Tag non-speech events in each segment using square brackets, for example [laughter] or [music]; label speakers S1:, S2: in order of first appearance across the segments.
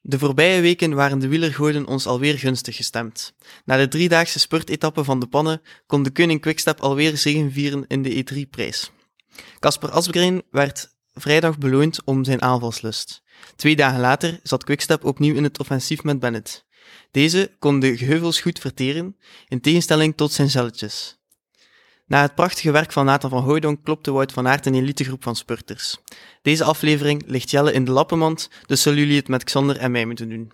S1: De voorbije weken waren de wielergoden ons alweer gunstig gestemd. Na de driedaagse spurtetappe van de pannen kon de koning Quickstep alweer zegenvieren in de E3-prijs. Casper Asgreen werd vrijdag beloond om zijn aanvalslust. Twee dagen later zat Quickstep opnieuw in het offensief met Bennett. Deze kon de geheuvels goed verteren, in tegenstelling tot zijn zelletjes. Na het prachtige werk van Nathan van Hooydonk klopte Wout van Aert een elitegroep van spurters. Deze aflevering ligt Jelle in de lappenmand, dus zullen jullie het met Xander en mij moeten doen.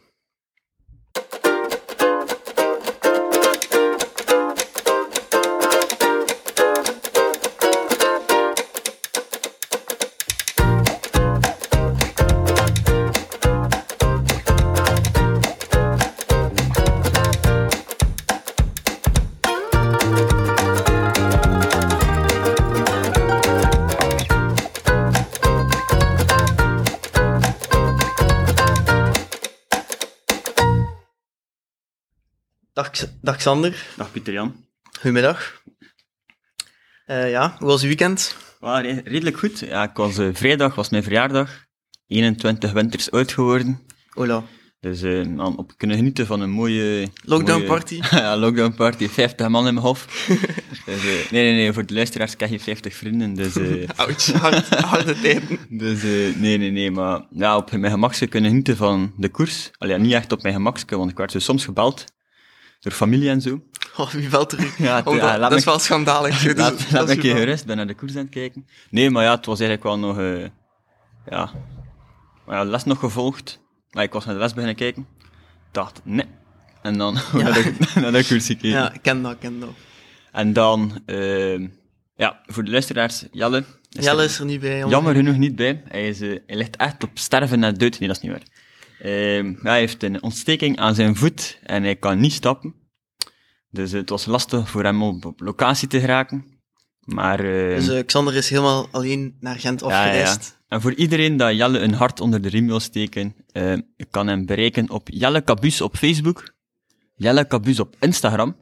S1: Dag, X- dag Xander,
S2: Dag Pieter Jan.
S1: goedemiddag. Eh, ja, hoe was uw weekend?
S2: Ja, re- redelijk goed. Ja, ik was, eh, vrijdag was mijn verjaardag. 21 winters oud geworden.
S1: Ola,
S2: Dus eh, man, op kunnen genieten van een mooie...
S1: Lockdown
S2: mooie-
S1: party.
S2: [laughs] ja, lockdown party. 50 man in mijn hof. [laughs] dus, eh, nee, nee, nee. Voor de luisteraars krijg je 50 vrienden.
S1: [laughs]
S2: Dus, eh,
S1: Ouch, hard, harde tijden.
S2: dus eh, nee, nee, nee. Maar ja, op mijn gemakske kunnen genieten van de koers. Allee, ja, niet echt op mijn gemakske, want ik werd zo soms gebeld. Door familie en zo.
S1: Oh, wie valt er?
S2: Ja,
S1: Oh,
S2: ja,
S1: dat,
S2: laat
S1: dat
S2: me-
S1: is wel
S2: [laughs]
S1: schandalig. Dat- dat
S2: laat,
S1: is
S2: laat me een keer
S1: wel-
S2: gerust, ben naar de koers aan het kijken. Nee, maar ja, het was eigenlijk wel nog, eh, ja, maar ja, les nog gevolgd. Maar ik was naar de les beginnen kijken, dacht, nee. En dan [laughs] naar, de, naar de koers gekeken.
S1: Ja, ik ken dat, ik ken dat.
S2: En dan, ehm, ja, voor de luisteraars, Jelle. is
S1: Jelle
S2: er-
S1: is er niet bij, jongen.
S2: Jammer genoeg niet bij. Hij, is, eh, hij ligt echt op sterven na dood. Nee, dat is niet waar. Ehm, hij heeft een ontsteking aan zijn voet en hij kan niet stappen. Dus eh, het was lastig voor hem om op locatie te geraken. Maar, ehm,
S1: Dus eh, Xander is helemaal alleen naar Gent
S2: ja, ja, ja.
S1: afgereisd.
S2: En voor iedereen dat Jelle een hart onder de riem wil steken, eh, je kan hem bereiken op Jelle Cabus op Facebook, Jelle Cabus op Instagram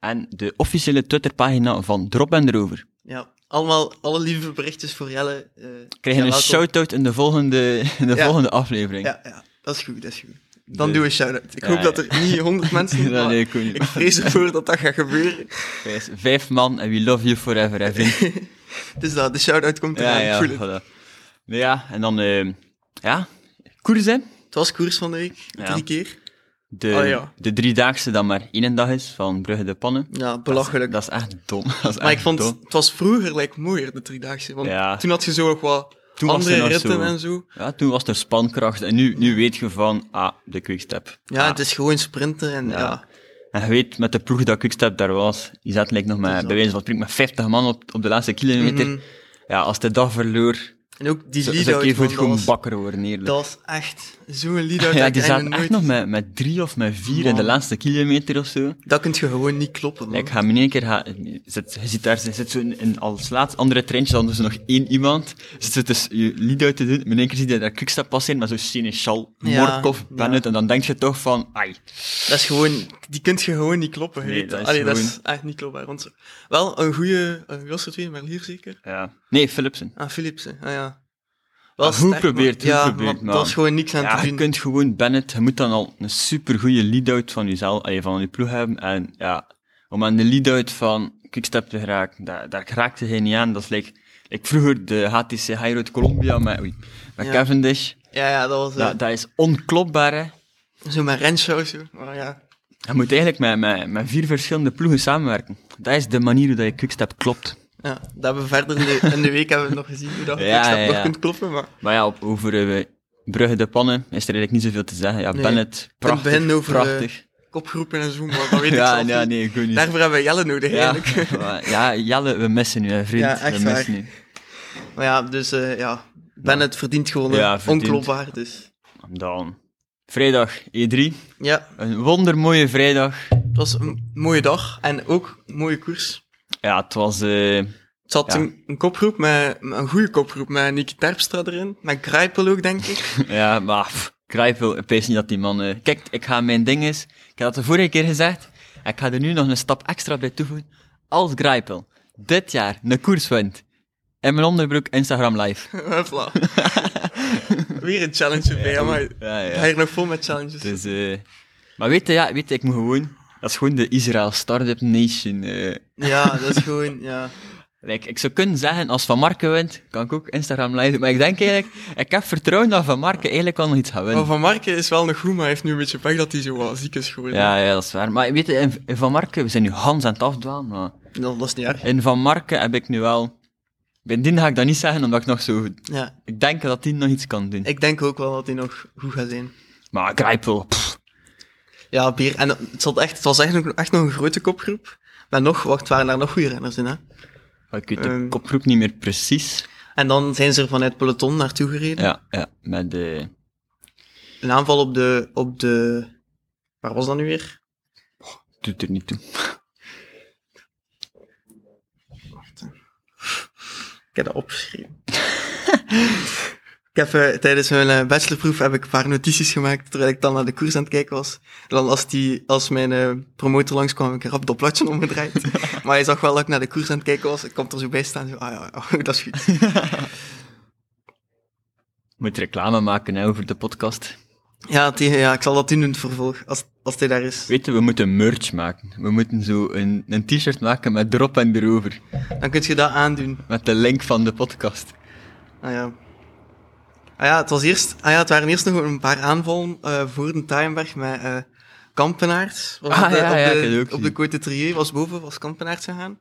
S2: en de officiële Twitterpagina van Drop and Rover.
S1: Ja, allemaal, alle lieve berichtjes voor Jelle. eh,
S2: Krijg je
S1: ja,
S2: een
S1: welkom.
S2: shout-out in de volgende, in de
S1: Ja.
S2: volgende aflevering. [laughs]
S1: Ja, ja, dat is goed, dat is goed. Dan
S2: Dus-
S1: doe een shout-out. Ik
S2: Ja,
S1: hoop
S2: ja.
S1: dat er niet
S2: [laughs]
S1: honderd mensen...
S2: Nee,
S1: maar
S2: nee, ik weet niet.
S1: [laughs] ik vrees ervoor dat dat gaat gebeuren.
S2: Gijs, Vijf man en we love you forever, hè, vriend.
S1: Dus dat, de shout-out komt eraan,
S2: [laughs] Ja,
S1: ik
S2: [laughs] ja,
S1: voel het.
S2: voilà. Nee, ja, en dan, eh, ja, koers, hè.
S1: Het was koers van de week,
S2: Ja.
S1: drie keer.
S2: De,
S1: Oh, ja.
S2: de driedaagse dan maar één dag is, van Brugge de Pannen.
S1: Ja, belachelijk.
S2: Dat is echt dom. [laughs] Dat is
S1: maar ik
S2: echt
S1: vond,
S2: dom.
S1: het was vroeger like, mooier, de driedaagse. Want
S2: Ja.
S1: toen had je zo nog wat
S2: Toen was er
S1: andere
S2: nog
S1: ritten
S2: zo-
S1: en zo.
S2: Ja, toen was er spankracht en nu, nu weet je van, ah, de quickstep.
S1: Ja,
S2: Ah.
S1: het is gewoon sprinten en ja.
S2: Ja. En je weet, met de ploeg dat quickstep daar was, die zat lijkt nog
S1: is
S2: maar,
S1: dat.
S2: bij wijze van spreken, met 50 man op, op de laatste kilometer.
S1: Mhm.
S2: Ja, als de dag verloor,
S1: En ook die
S2: zou zou ik
S1: lead-out,
S2: even
S1: man,
S2: goed
S1: dat was-
S2: bakker worden, eerlijk.
S1: dat was echt zo'n
S2: [laughs]
S1: lead-out. dat
S2: ja,
S1: ik
S2: die zaten
S1: eigenlijk
S2: echt nog
S1: nooit-
S2: met, met drie of met vier in de
S1: Man.
S2: laatste kilometer of zo.
S1: Dat kun je gewoon niet kloppen, man.
S2: Ik ga hem in één keer... Ga, zit, je zit daar je zit zo in, in als laatste andere treintje, dan is er nog één iemand. Zit zo tussen je lead uit te doen. maar In één keer zie je daar Quickstep passeren met zo'n Seneschal,
S1: Ja,
S2: Morkov,
S1: ja.
S2: Bennett. En dan denk je toch van... Ai,
S1: Dat is gewoon, die kunt je gewoon niet kloppen. je
S2: Nee,
S1: weet
S2: dat is
S1: Allee, dat
S2: gewoon-
S1: is echt niet klopbaar. Want wel een goede, wie was het weer? Merlier zeker?
S2: Ja. Nee, Philipsen.
S1: Ah, Philipsen. Ah ja.
S2: Ah, goed
S1: sterk, maar-
S2: geprobeerd, goed
S1: ja,
S2: geprobeerd,
S1: maar
S2: man.
S1: Dat is gewoon niks aan
S2: nou- Ja,
S1: te
S2: je
S1: doen.
S2: kunt gewoon Bennett, je moet dan al een supergoeie lead-out van jezelf, allee, van je ploeg hebben. En ja, om aan de lead-out van Quickstep te geraken, daar, daar raakte hij niet aan. Dat is like, like vroeger de HTC High Road Colombia met, oei, met
S1: Ja.
S2: Cavendish.
S1: Ja, ja, dat was eh,
S2: Dat, dat is onklopbaar, hè.
S1: zo met Renshaw zo. Maar ja.
S2: Je moet eigenlijk met, met, met vier verschillende ploegen samenwerken. Dat is de manier hoe dat je Quickstep klopt.
S1: ja, dat hebben we verder in de, in de week hebben we nog gezien hoe dat je
S2: Ja,
S1: Quickstep
S2: ja,
S1: nog
S2: ja.
S1: kunt kloppen. Maar
S2: Maar ja, op, over eh, Brugge de Pannen is er eigenlijk niet zoveel te zeggen. Ja,
S1: Nee.
S2: Bennett, prachtig,
S1: begin over, eh,
S2: prachtig.
S1: kopgroepen en zo, maar dat weet ik
S2: [laughs] ja,
S1: zelf
S2: ja,
S1: niet.
S2: nee, goed niet.
S1: Daarvoor hebben we Jelle nodig eigenlijk. [laughs]
S2: maar- ja, [laughs] Jelle, we missen u, hè, vriend.
S1: Ja, echt
S2: we
S1: waar.
S2: missen u.
S1: Maar ja, dus eh, ja, Bennett verdient gewoon eh,
S2: Ja, verdient.
S1: onklopbaar. Dus.
S2: Dan. Vrijdag E3.
S1: Ja,
S2: Een wondermooie vrijdag.
S1: het was een mooie dag en ook een mooie koers.
S2: Ja, het was. eh, [laughs]
S1: Het zat
S2: Ja.
S1: een, een kopgroep, met, met een goede kopgroep, met Nicky Terpstra erin, met Grijpel ook, denk ik.
S2: ja, maar. pff, Kruipel, ik weet niet dat die man. eh, Kijk, ik ga mijn ding is. Ik had dat de vorige keer gezegd. en Ik ga er nu nog een stap extra bij toevoegen. Als Grijpel
S1: [laughs]
S2: dit jaar een koers wint. In mijn onderbroek Instagram live.
S1: Huffla. Weer een challenge erbij, ja, maar
S2: Ja,
S1: ja.
S2: ja.
S1: hier nog vol met challenges.
S2: Dus, eh, maar weet je, ja, weet je, ik moet gewoon... Dat is gewoon de Israël Startup Nation. eh.
S1: Ja, dat is gewoon, ja.
S2: Like, ik zou kunnen zeggen, als Van Marken wint, kan ik ook Instagram live doen. Maar ik denk eigenlijk, ik heb vertrouwen dat Van Marken eigenlijk al nog iets gaat winnen.
S1: Maar Oh, Van Marken is wel nog goed, maar hij heeft nu een beetje pech dat hij zo wat ziek is geworden.
S2: Ja, ja, dat is waar. Maar weet je, in- in Van Marken, we zijn nu Hans aan het afdwalen, maar
S1: Dat, dat is niet erg.
S2: in Van Marken heb ik nu wel... Bindien ga ik dat niet zeggen, omdat ik nog zo... goed-
S1: Ja,
S2: Ik denk dat hij nog iets kan doen.
S1: ik denk ook wel dat hij nog goed gaat zijn.
S2: Maar Grijpel, pff,
S1: Ja, Beer. En het, zat echt, het was echt, nog- echt nog een grote kopgroep. Maar nog, wacht, waren daar nog goede renners in, hè?
S2: ik weet de
S1: Ehm.
S2: kopgroep niet meer precies.
S1: En dan zijn ze er vanuit peloton naartoe gereden.
S2: Ja, ja, met de...
S1: Een aanval op de, op de... Waar was dat nu weer?
S2: Doet er niet toe.
S1: Ik heb dat opgeschreven. [laughs] ik heb, eh, tijdens mijn eh, bachelorproef heb ik een paar notities gemaakt, terwijl ik dan naar de koers aan het kijken was. En dan als, die, als mijn eh, promotor langskwam, heb ik een rap dat platje [laughs] omgedraaid. maar hij zag wel dat ik naar de koers aan het kijken was. Ik kwam er zo bij staan, zo, ah ja, ja, [laughs] dat is goed.
S2: Moet reclame maken hè, over de podcast.
S1: Ja, tegen, ja, ik zal dat doen in het vervolg, als, als hij daar is.
S2: Weet je, we moeten merch maken. We moeten zo een, een t-shirt maken met erop en erover.
S1: Dan kun je dat aandoen.
S2: Met de link van de podcast.
S1: Ah ja. Ah ja, het, was eerst, ah ja, het waren eerst nog een paar aanvallen eh, voor de Tijmenberg met eh Kampenaerts. Was
S2: Ah,
S1: op de,
S2: ja,
S1: op
S2: ja, ik heb
S1: de,
S2: het ook
S1: op de
S2: gezien.
S1: Côte Trier was boven, was Kampenaerts gegaan.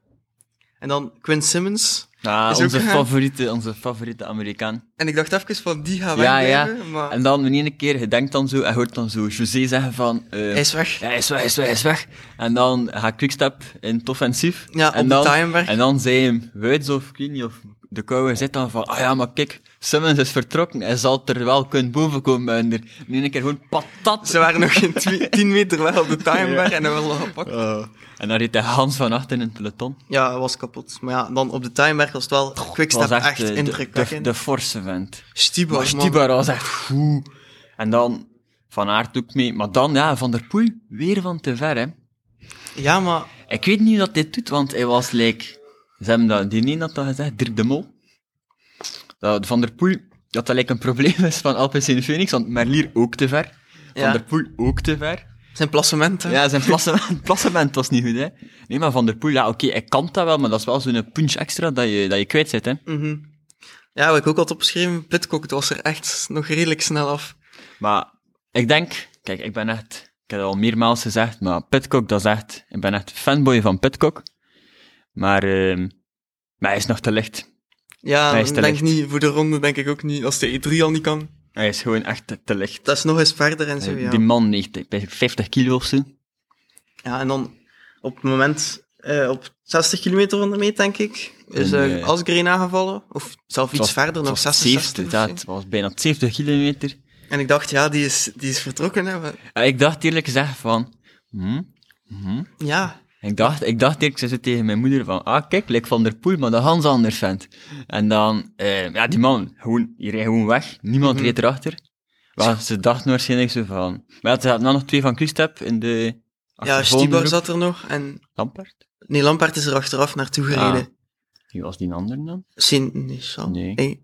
S1: En dan Quinn Simmons.
S2: Ah,
S1: Is ook
S2: onze,
S1: gegaan.
S2: favoriete, onze favoriete Amerikaan.
S1: En ik dacht even van, die gaat
S2: Ja, ja.
S1: wegblijven, maar
S2: En dan, de ene keer, je denkt dan zo, en je hoort dan zo José zeggen van... eh,
S1: hij is weg.
S2: ja, hij is weg, hij is weg, hij is weg. En dan gaat Quickstep in het offensief.
S1: Ja,
S2: en
S1: op
S2: dan,
S1: de Tijmenberg.
S2: En dan zei hem, Wuits of Kini of de kouwe zit dan van, ah ja, maar kijk, Simmons is vertrokken, hij zal er wel kunnen bovenkomen. En er in één keer gewoon patat.
S1: Ze waren nog geen
S2: [laughs]
S1: twi- 10 meter weg op de Tijmenberg en hij werd al gepakt.
S2: Oh. En dan reed hij Hans van achter in het peloton.
S1: Ja, hij was kapot. Maar ja, dan op de Tijmenberg was het wel
S2: Dat
S1: Quickstep
S2: was
S1: echt,
S2: echt, eh, de, de,
S1: indrukwekkend.
S2: de forse vent.
S1: Stibar,
S2: Maar
S1: man.
S2: Stibar was echt goed. En dan Van Aert ook mee. Maar dan, ja, Van der Poel, weer van te ver, hè.
S1: Ja, maar
S2: Ik weet niet hoe dat dit doet, want hij was like... Ze hebben dat, die een had dat gezegd, Dirk de Mol. Dat van der Poel, dat dat like een probleem is van Alpecin Phoenix, want Merlier ook te ver. Van
S1: Ja.
S2: der Poel ook te ver.
S1: zijn placementen.
S2: Ja, zijn plassement, [laughs] plassement was niet goed, hè. Nee, maar Van der Poel, ja, oké, hij kan dat wel, maar dat is wel zo'n punch extra dat je, dat je kwijt zit, hè.
S1: Mhm. Ja, wat ik ook had opgeschreven, Pitcock, het was er echt nog redelijk snel af.
S2: Maar ik denk, kijk, ik ben echt, ik heb het al meermaals gezegd, maar Pitcock, dat is echt, ik ben echt fanboy van Pitcock. Maar, ehm, maar hij is nog te licht.
S1: Ja,
S2: Hij is
S1: ik
S2: te
S1: denk
S2: licht.
S1: niet, voor de ronde denk ik ook niet, als de E3 al niet kan.
S2: Hij is gewoon echt te, te licht.
S1: Dat is nog eens verder en zo, ja.
S2: Die man heeft bij 50 kilo of zo.
S1: Ja, en dan op het moment, eh, op 60 kilometer van de meet, denk ik, is
S2: En,
S1: eh
S2: eh,
S1: Asgreen aangevallen. Of zelf iets
S2: Het was-
S1: verder,
S2: het
S1: nog
S2: was
S1: 66.
S2: 70,
S1: of
S2: ja,
S1: zo.
S2: het was bijna 70 kilometer.
S1: En ik dacht, ja, die is, die is vertrokken. Hè. maar-
S2: En ik dacht eerlijk gezegd van, hm, hm.
S1: Ja,
S2: Ik dacht, ik dacht eerlijk gezegd tegen mijn moeder van, ah kijk, lijkt Van der Poel, maar dat Hans anders vent. En dan, eh, ja, die man, gewoon, die reed gewoon weg. Niemand
S1: Mhm.
S2: reed erachter. Maar ze dachten waarschijnlijk zo van... Maar ja, ze hadden dan nog twee van Quickstep in de...
S1: ja Stibar zat er nog. En
S2: Lampard?
S1: nee, Lampard is er achteraf naartoe
S2: Ah.
S1: gereden.
S2: Wie was die ander dan?
S1: Sint, nee, Sam.
S2: Nee.
S1: Hey,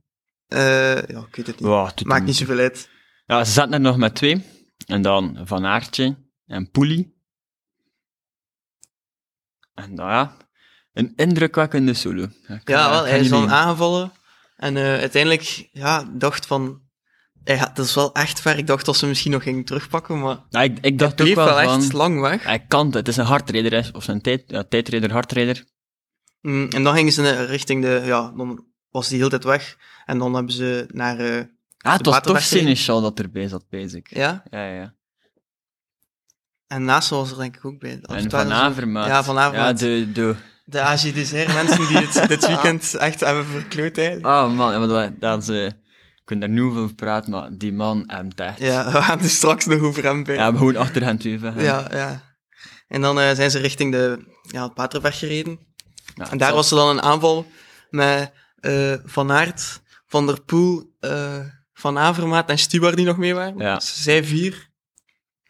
S1: eh, ja, ik weet het niet.
S2: Wow, het doet
S1: Maakt
S2: hem-
S1: niet zoveel uit.
S2: Ja, ze zaten er nog met twee. En dan Van Aertje en Poelie. En dan, ja... Een indrukwekkende solo. Ja, ik kan-
S1: Ja, wel,
S2: ik kan
S1: hij is
S2: niet
S1: dan
S2: liegen.
S1: aangevallen. En eh, uiteindelijk ja, dacht van... Hij gaat, dat is wel echt ver. Ik dacht dat ze misschien nog ging terugpakken, maar... Het
S2: Ja, ik, ik dacht ook
S1: bleef
S2: wel,
S1: wel echt
S2: van-
S1: lang weg.
S2: Hij kan het, het is een hardrijder, hè, of een tijd, ja, tijdrijder, hardrijder.
S1: Mm, en dan gingen ze naar- richting de... Ja, dan was die heel tijd weg. En dan hebben ze naar... eh,
S2: Ah, het was toch
S1: Waterberg gereden.
S2: Seneschal dat erbij zat, basic. Ja,
S1: ja?
S2: ja. ja.
S1: En naast was er denk ik ook bij. Of
S2: En
S1: het waren
S2: Van
S1: zo-
S2: Avermaat.
S1: Ja, Van Avermaat.
S2: Ja, de, de...
S1: De AG Dessert, mensen die het
S2: [laughs]
S1: dit weekend echt hebben verkloot, hè.
S2: Ah, man, ja, maar dat, dat is, eh, ik kan daar nu over praten, maar die man, hem echt. Ja.
S1: Ja, we gaan het straks nog over hem bij.
S2: we hebben gewoon achter hen twee vechten.
S1: ja. ja. En dan eh, zijn ze richting de, ja, het Paterberg gereden.
S2: Ja,
S1: En daar
S2: zo.
S1: was er dan een aanval met eh, Van Aert, Van der Poel, eh, Van Avermaat en Stuart die nog mee waren.
S2: Ja.
S1: Dus zij vier.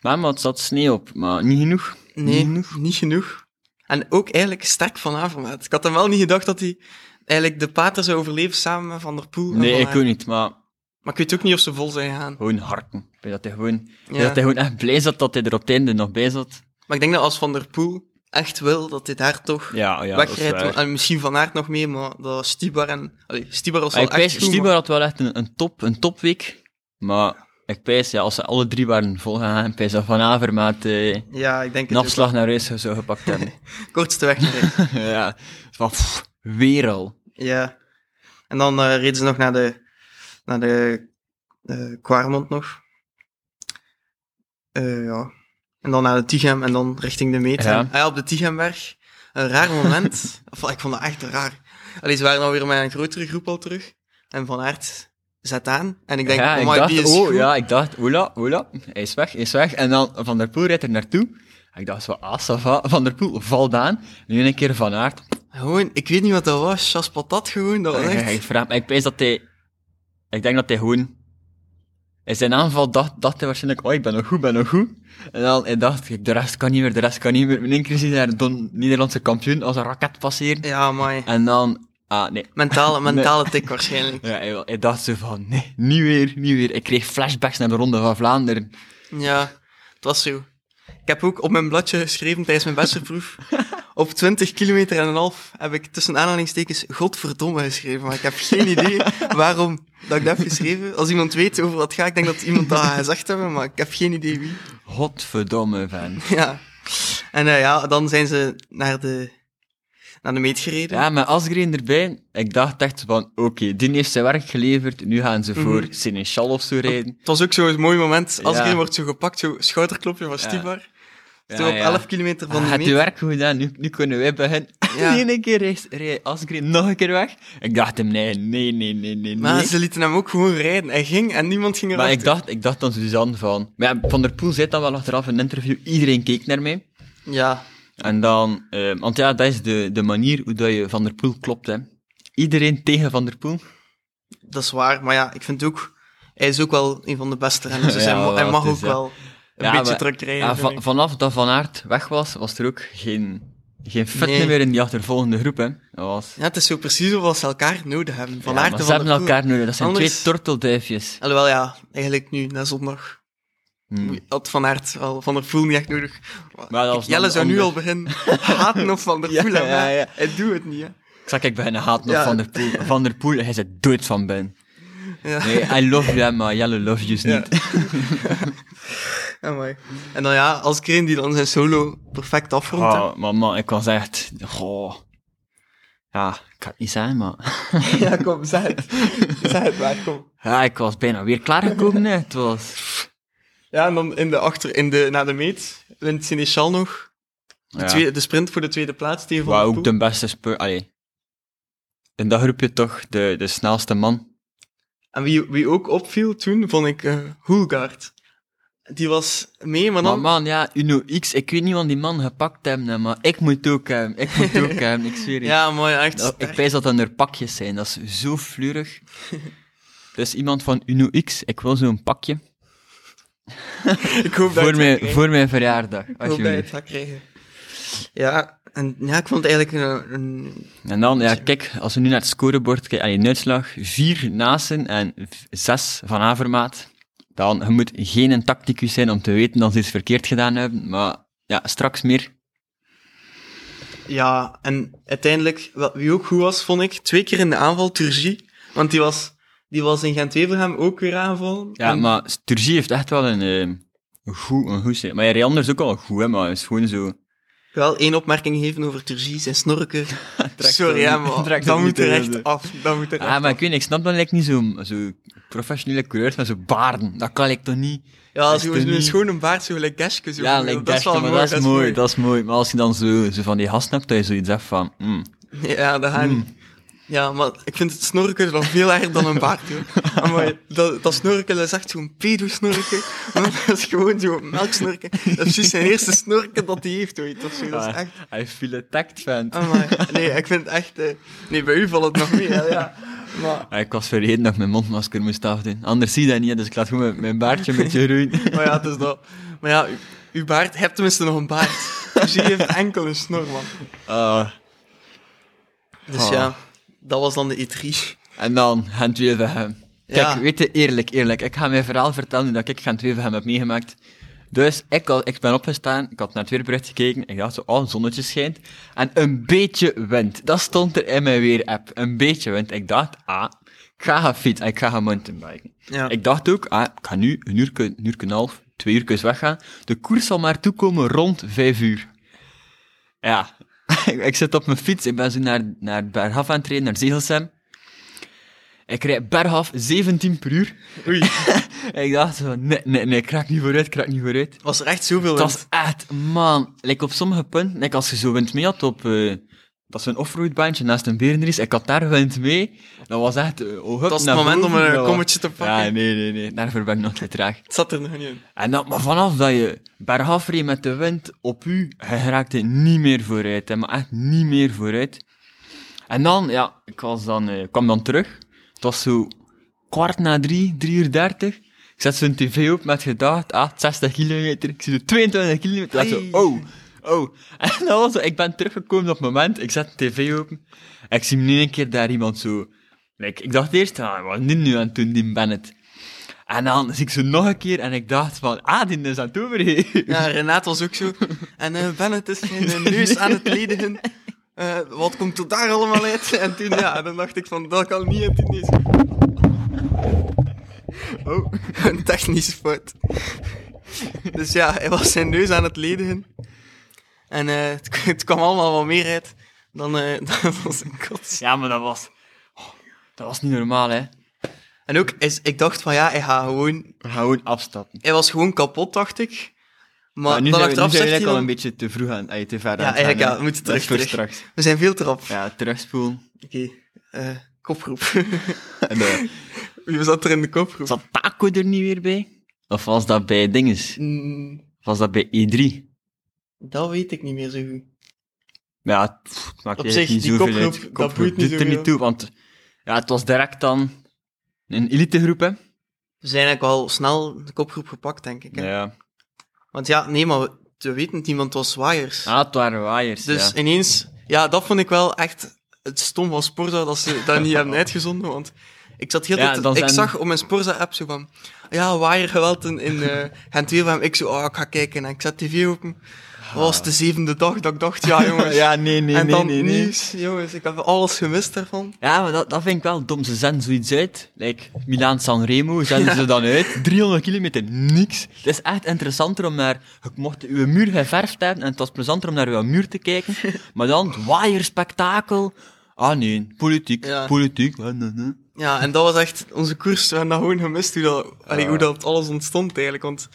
S2: Maar, maar het zat sneeuw op, maar niet genoeg.
S1: Nee,
S2: Niet
S1: niet genoeg. En ook eigenlijk sterk Van Avermaat. Ik had hem wel niet gedacht dat hij eigenlijk de pater zou overleven samen met Van der Poel. en
S2: Nee,
S1: Van
S2: ik
S1: Aert.
S2: ook niet, maar
S1: Maar ik weet ook niet of ze vol zijn gegaan.
S2: Gewoon harken. Ik denk dat hij gewoon, ik denk
S1: Ja.
S2: dat hij gewoon echt blij zat dat hij er op het einde nog bij zat.
S1: Maar ik denk dat als Van der Poel echt wil dat dit haar toch
S2: Ja, ja, dat is
S1: wegrijdt,
S2: waar.
S1: en misschien Van Aert nog mee, maar dat Stibar en... Allee, Stibar was
S2: Maar
S1: wel
S2: ik pijs,
S1: echt goed,
S2: Stibar
S1: maar-
S2: had wel echt een, een, top, een topweek. Maar ik pijs, ja, als ze alle drie waren volgegaan, pijs dat Van Avermaat eh
S1: Ja, ik denk
S2: een
S1: het ook.
S2: afslag naar huis zou gepakt hebben.
S1: Kortste weg naar huis.
S2: [laughs] ja, van pff, weer al.
S1: Ja. En dan eh reden ze nog naar de, naar de eh Quarmond nog. Eh, ja. En dan naar de Tighem en dan richting de meter.
S2: Ja.
S1: Ah ja, op de Tighemberg. Een
S2: [laughs]
S1: raar moment. of, ik vond dat echt raar. Allee, ze waren dan weer met een grotere groep al terug. En Van Aert zet aan. En ik denk,
S2: ja,
S1: oh
S2: ik
S1: my,
S2: dacht,
S1: die is
S2: oh
S1: goed.
S2: ja, ik dacht, oela, oela, hij is weg, hij is weg. En dan Van der Poel rijdt er naartoe. Ik dacht zo, ah, ça va, Van der Poel valt aan. Nu een keer Van Aert.
S1: Gewoon, ik weet niet wat dat was. Chas patat gewoon, dat was
S2: Ik,
S1: echt...
S2: Eh, ik, vraag, me- ik pijs dat hij... Ik denk dat hij gewoon... In zijn aanval dacht, dacht hij waarschijnlijk, oh, ik ben nog goed, ik ben nog goed. En dan hij dacht ik, de rest kan niet meer, de rest kan niet meer. In één keer zie hij de Don- Nederlandse kampioen als een raket passeren.
S1: Ja, maar
S2: En dan... Ah, nee.
S1: Mentale, mentale tik waarschijnlijk.
S2: Ja, hij, hij dacht zo van, nee, niet weer, niet weer. Ik kreeg flashbacks naar de Ronde van Vlaanderen.
S1: Ja, het was zo. Ik heb ook op mijn bladje geschreven tijdens mijn bachelorproef. op 20 kilometer en een half heb ik tussen aanhalingstekens godverdomme geschreven. Maar ik heb geen idee waarom dat ik dat heb geschreven. Als iemand weet over wat het gaat, ik denk dat iemand dat gaat gezegd hebben, maar ik heb geen idee wie.
S2: Godverdomme, van.
S1: Ja. En eh, ja, dan zijn ze naar de, naar de meet gereden.
S2: Ja, maar Asgreen erbij, ik dacht echt van, oké, die heeft zijn werk geleverd, nu gaan ze voor
S1: Mhm.
S2: Seneschal of zo rijden.
S1: Het was ook zo'n mooi moment.
S2: Ja.
S1: Als wordt zo gepakt, zo schouderklopje van Stibar. Toen
S2: Ja,
S1: op
S2: ja.
S1: 11 kilometer van
S2: Hij
S1: de
S2: had
S1: meet.
S2: je werk Ah, goed gedaan, nu, nu kunnen wij beginnen. [laughs]
S1: Ja.
S2: De ene keer reed- reed Asgreen nog een keer weg. Ik dacht hem, nee, nee, nee, nee, nee.
S1: Maar
S2: nee.
S1: ze lieten hem ook gewoon rijden. Hij ging en niemand ging
S2: Maar
S1: erachter.
S2: ik dacht, ik dacht dan Suzanne van... Maar ja, Van der Poel zei dan wel achteraf in een interview, iedereen keek naar mij.
S1: Ja,
S2: En dan... eh, want ja, dat is de, de manier hoe dat je Van der Poel klopt, hè. Iedereen tegen Van der Poel.
S1: dat is waar. Maar ja, ik vind ook... Hij is ook wel een van de beste renners. Dus
S2: [laughs] Ja,
S1: hij, mo- hij
S2: wel,
S1: mag
S2: het
S1: ook
S2: is, ja.
S1: wel een
S2: Ja,
S1: beetje
S2: maar-
S1: druk krijgen.
S2: Ja,
S1: vind
S2: Ah, va-
S1: ik.
S2: vanaf dat Van Aert weg was, was er ook geen, geen fit
S1: Nee.
S2: meer in die achtervolgende groep. Hè. Dat was...
S1: Ja, het is zo precies of ze elkaar nodig hebben. Van
S2: Ja,
S1: Aert
S2: maar
S1: en
S2: ze
S1: Van der
S2: hebben
S1: Poel.
S2: elkaar nodig. Dat zijn
S1: Anders-
S2: twee tortelduifjes.
S1: Alhoewel, ja, eigenlijk nu, na zondag,
S2: Hm.
S1: had Van Aert al Van der Poel niet echt nodig.
S2: Maar dat
S1: Ik-
S2: was
S1: Jelle
S2: dan
S1: zou nu
S2: ander.
S1: al beginnen [laughs] haten op Van der
S2: Ja,
S1: Poel. en
S2: ja,
S1: mij.
S2: ja.
S1: Hij doet het niet, hè.
S2: Ik zag ik beginnen haat nog
S1: Ja.
S2: Van der Poel. Van der Poel, hij zit dood van Ben.
S1: Ja.
S2: Nee, I love you, hè, maar Jelle love you's
S1: [laughs] Ja.
S2: niet.
S1: [laughs] Amai. En dan ja, als Kreen die dan zijn solo perfect afrondt. hè. [laughs]
S2: Oh, maar man, ik was echt... Goh. Ja, ik kan het niet zijn, maar...
S1: Ja, kom, zeg het. Zeg het maar, kom.
S2: Ja, ik was bijna weer klaargekomen, hè. Het was...
S1: Ja, en dan in de achter, in de, na de meet wint Sinechal nog. De,
S2: Ja.
S1: tweede- de sprint voor de tweede plaats tegen Van
S2: Waar
S1: der Poel.
S2: ook de beste speur... Allee. In dat groepje toch de, de snelste man.
S1: En wie, wie ook opviel toen, vond ik eh Hulgaard. Die was mee, maar
S2: Maar
S1: dan...
S2: man, ja, Uno X, ik weet niet wat die man gepakt hebben, hè, maar ik moet ook hem, ik moet
S1: [laughs]
S2: ook hem, ik zweer je.
S1: ja, mooi, echt
S2: Dat- ik
S1: sterk.
S2: wijs dat dat er pakjes zijn, dat is zo fleurig. Dus iemand van Uno X, ik wil zo'n pakje
S1: [laughs] Ik hoop dat
S2: voor
S1: ik het
S2: mijn,
S1: krijg.
S2: voor mijn verjaardag,
S1: Ik hoop dat je het
S2: alsjeblieft.
S1: gaat krijgen. Ja, en ja, ik vond het eigenlijk een... een-
S2: En dan, ja, kijk, als we nu naar het scorebord kijken, aan je uitslag, vier Nasen en v- zes van Avermaat, dan, je moet geen tacticus zijn om te weten dat ze iets verkeerd gedaan hebben, maar ja, straks meer.
S1: Ja, en uiteindelijk, wel, wie ook goed was, vond ik, twee keer in de aanval, Turgie. Want die was, die was in Gent-Wevelgem ook weer aangevallen.
S2: Ja,
S1: En-
S2: maar Sturgie heeft echt wel een, eh, een goed, een goed zijn. Maar ja, Reander is ook wel goed, hè, maar hij is gewoon zo...
S1: wel één opmerking geven over Turgie, zijn snorken.
S2: [laughs] Trekt
S1: Sorry,
S2: hem
S1: ja,
S2: niet-
S1: maar
S2: trekt
S1: dat
S2: hem
S1: moet
S2: niet
S1: er
S2: in,
S1: echt
S2: hè.
S1: af. Dat moet er echt
S2: Ah, maar ik weet niet, ik snap dan like, niet zo'n zo professionele coureurs met zo'n baarden. Dat kan ik toch niet?
S1: Ja, als
S2: Echt
S1: je gewoon
S2: een
S1: een
S2: niet-
S1: schone baard, zo gelijk Geske, zo.
S2: ja,
S1: dat
S2: like
S1: is wel
S2: dat, maar dat is mooi, dat is mooi. Maar als je dan zo, zo van die gasten hebt, dat je zoiets hebt van... mm.
S1: Ja, dat
S2: Hmm.
S1: gaat niet. Ja, maar ik vind het snorken nog veel erger dan een baard, joh. Amai, dat, dat snorken, dat is echt zo'n pedo-snorken. [laughs] Want dat is gewoon zo'n melksnorken. Dat is precies zijn eerste snorken dat hij heeft ooit, of zo. Dat is
S2: Ah,
S1: echt...
S2: I feel attacked, vent.
S1: Amai. Nee, ik vind het echt... eh, Nee, bij u valt het nog mee, hè, ja. Maar,
S2: Ah, ik was vergeten dat ik mijn mondmasker moest afdoen. Anders zie je dat niet, hè, dus ik laat gewoon mijn, mijn baardje een beetje roeien.
S1: [laughs] maar ja, het is dat. Maar ja, u- uw baard... Je hebt tenminste nog een baard. Dus je heeft enkel een snor, man.
S2: Ah,
S1: Dus
S2: Ah.
S1: ja, dat was dan de E3.
S2: en dan, Gent-Wevelgem.
S1: Ja.
S2: Kijk, weet je, eerlijk, eerlijk. Ik ga mijn verhaal vertellen nu dat ik Gent Wevelgem heb meegemaakt. Dus ik, al, ik ben opgestaan, ik had naar het weerbericht gekeken, ik dacht zo, oh, een zonnetje schijnt. En een beetje wind, dat stond er in mijn weerapp. Een beetje wind. Ik dacht, ah, ik ga gaan fietsen, ik ga gaan mountainbiken.
S1: Ja.
S2: Ik dacht ook, ah, ik ga nu een uur, een uur en een half, twee uur weggaan. De koers zal maar toekomen rond vijf uur. Ja, [laughs] ik zit op mijn fiets, ik ben zo naar, naar Bergaf aan het rijden, naar Zegelsem. Ik rijd bergaf 17 per uur.
S1: Oei.
S2: ik dacht zo, nee, nee, nee, ik raak niet vooruit, ik raak niet vooruit.
S1: Was er echt zoveel
S2: Het
S1: wind?
S2: was echt, man, like op sommige punten, like als je zo wind mee had op, eh, dat is een offroadbaantje naast een berenries, ik had daar wind mee, dat was echt, eh, oh, hup,
S1: Dat was het
S2: naar
S1: moment om
S2: boven, dat
S1: een
S2: was-
S1: kommetje te pakken.
S2: Ja, nee, nee, nee, daarvoor ben ik nog te traag.
S1: Het zat er nog niet in.
S2: En dat, maar vanaf dat je bergaf reed met de wind op u, je raakte niet meer vooruit, hè, maar echt niet meer vooruit. En dan, ja, ik was dan, eh, kwam dan terug. Het was zo kwart na drie, drie uur dertig. Ik zet zo'n tv op met gedacht, ah, 60 kilometer. Ik zie zo 22 kilometer. Dat zo,
S1: Ai.
S2: oh, oh. [laughs] En dan was zo, ik ben teruggekomen op het moment, ik zet de tv open. Ik zie nu een keer daar iemand zo... Like, ik dacht eerst, ah, wat nu nu aan het doen, die Bennett? En dan zie ik ze nog een keer en ik dacht van, ah, die is aan het overgeven.
S1: Ja, Renaat was ook zo. En eh Bennett is zijn eh, neus aan het ledigen. Eh, wat komt er daar allemaal uit? En toen, ja, dan dacht ik van, dat kan niet uit die neus.
S2: Oh.
S1: Een technische fout. Dus ja, hij was zijn neus aan het ledigen. En eh, het, k- het kwam allemaal wat meer uit dan, eh [laughs] dan was een kots.
S2: Ja, maar dat was... oh, dat was niet normaal, hè.
S1: En ook, is, ik dacht van ja, hij, gaat gewoon,
S2: Gewoon afstappen.
S1: hij was gewoon kapot, dacht ik. Maar,
S2: Maar nu
S1: dan
S2: zijn we, nu
S1: achteraf
S2: zijn we
S1: zegt hij
S2: eigenlijk al
S1: dan,
S2: een beetje te vroeg aan, ay, te ver aan
S1: Ja,
S2: het gaan,
S1: eigenlijk ja,
S2: hè.
S1: we moeten
S2: Dat is
S1: terug,
S2: voor
S1: terug.
S2: straks.
S1: we zijn veel te rap.
S2: Ja, terugspoelen.
S1: Oké, eh, kopgroep.
S2: [laughs] En, eh,
S1: [laughs] Wie zat er in de kopgroep?
S2: zat Taco er niet weer bij? Of was dat bij dinges?
S1: Mm,
S2: Of was dat bij E3?
S1: dat weet ik niet meer zo goed.
S2: Ja, pff, het maakt
S1: Op
S2: eigenlijk
S1: zich,
S2: niet
S1: die
S2: zoveel
S1: kopgroep,
S2: uit.
S1: dat boeit niet
S2: doet er niet
S1: zoveel.
S2: toe, want ja, het was direct dan een elitegroep, hè?
S1: We zijn eigenlijk wel snel de kopgroep gepakt, denk ik. hè.
S2: Ja.
S1: Want ja, nee, maar we, we weten het niet, want het was waaiers.
S2: Ah, het waren waaiers,
S1: Dus
S2: [laughs] ja.
S1: ineens, ja, dat vond ik wel echt het stom van Sporza dat ze dat niet hebben uitgezonden. Want ik zat heel
S2: Ja,
S1: de tijd-
S2: dan
S1: ik
S2: zijn-
S1: zag op mijn Sporza-app zo van, ja, waaiergeweld in, in eh gent hem Ik zo, oh, ik ga kijken. En ik zet tv open. Dat was de zevende dag dat ik dacht, ja, jongens.
S2: [laughs] Ja, nee, nee,
S1: en
S2: nee,
S1: dan
S2: nee, nee.
S1: nieuws, jongens. Ik heb alles gemist daarvan.
S2: Ja, maar dat, dat vind ik wel dom. Ze zenden zoiets uit. Like, Milaan Sanremo
S1: [laughs]
S2: zenden ze dan uit. 300 kilometer, niks. Het is echt interessanter om naar... Je mocht uw muur geverfd hebben en het was plezanter om naar uw muur te
S1: [laughs]
S2: kijken. Maar dan, het waaierspektakel. Ah nee, politiek,
S1: Ja.
S2: politiek. eh, nee, nee.
S1: Ja, en dat was echt onze koers. We hebben dat gewoon gemist, hoe dat, allee, hoe dat alles ontstond eigenlijk. Want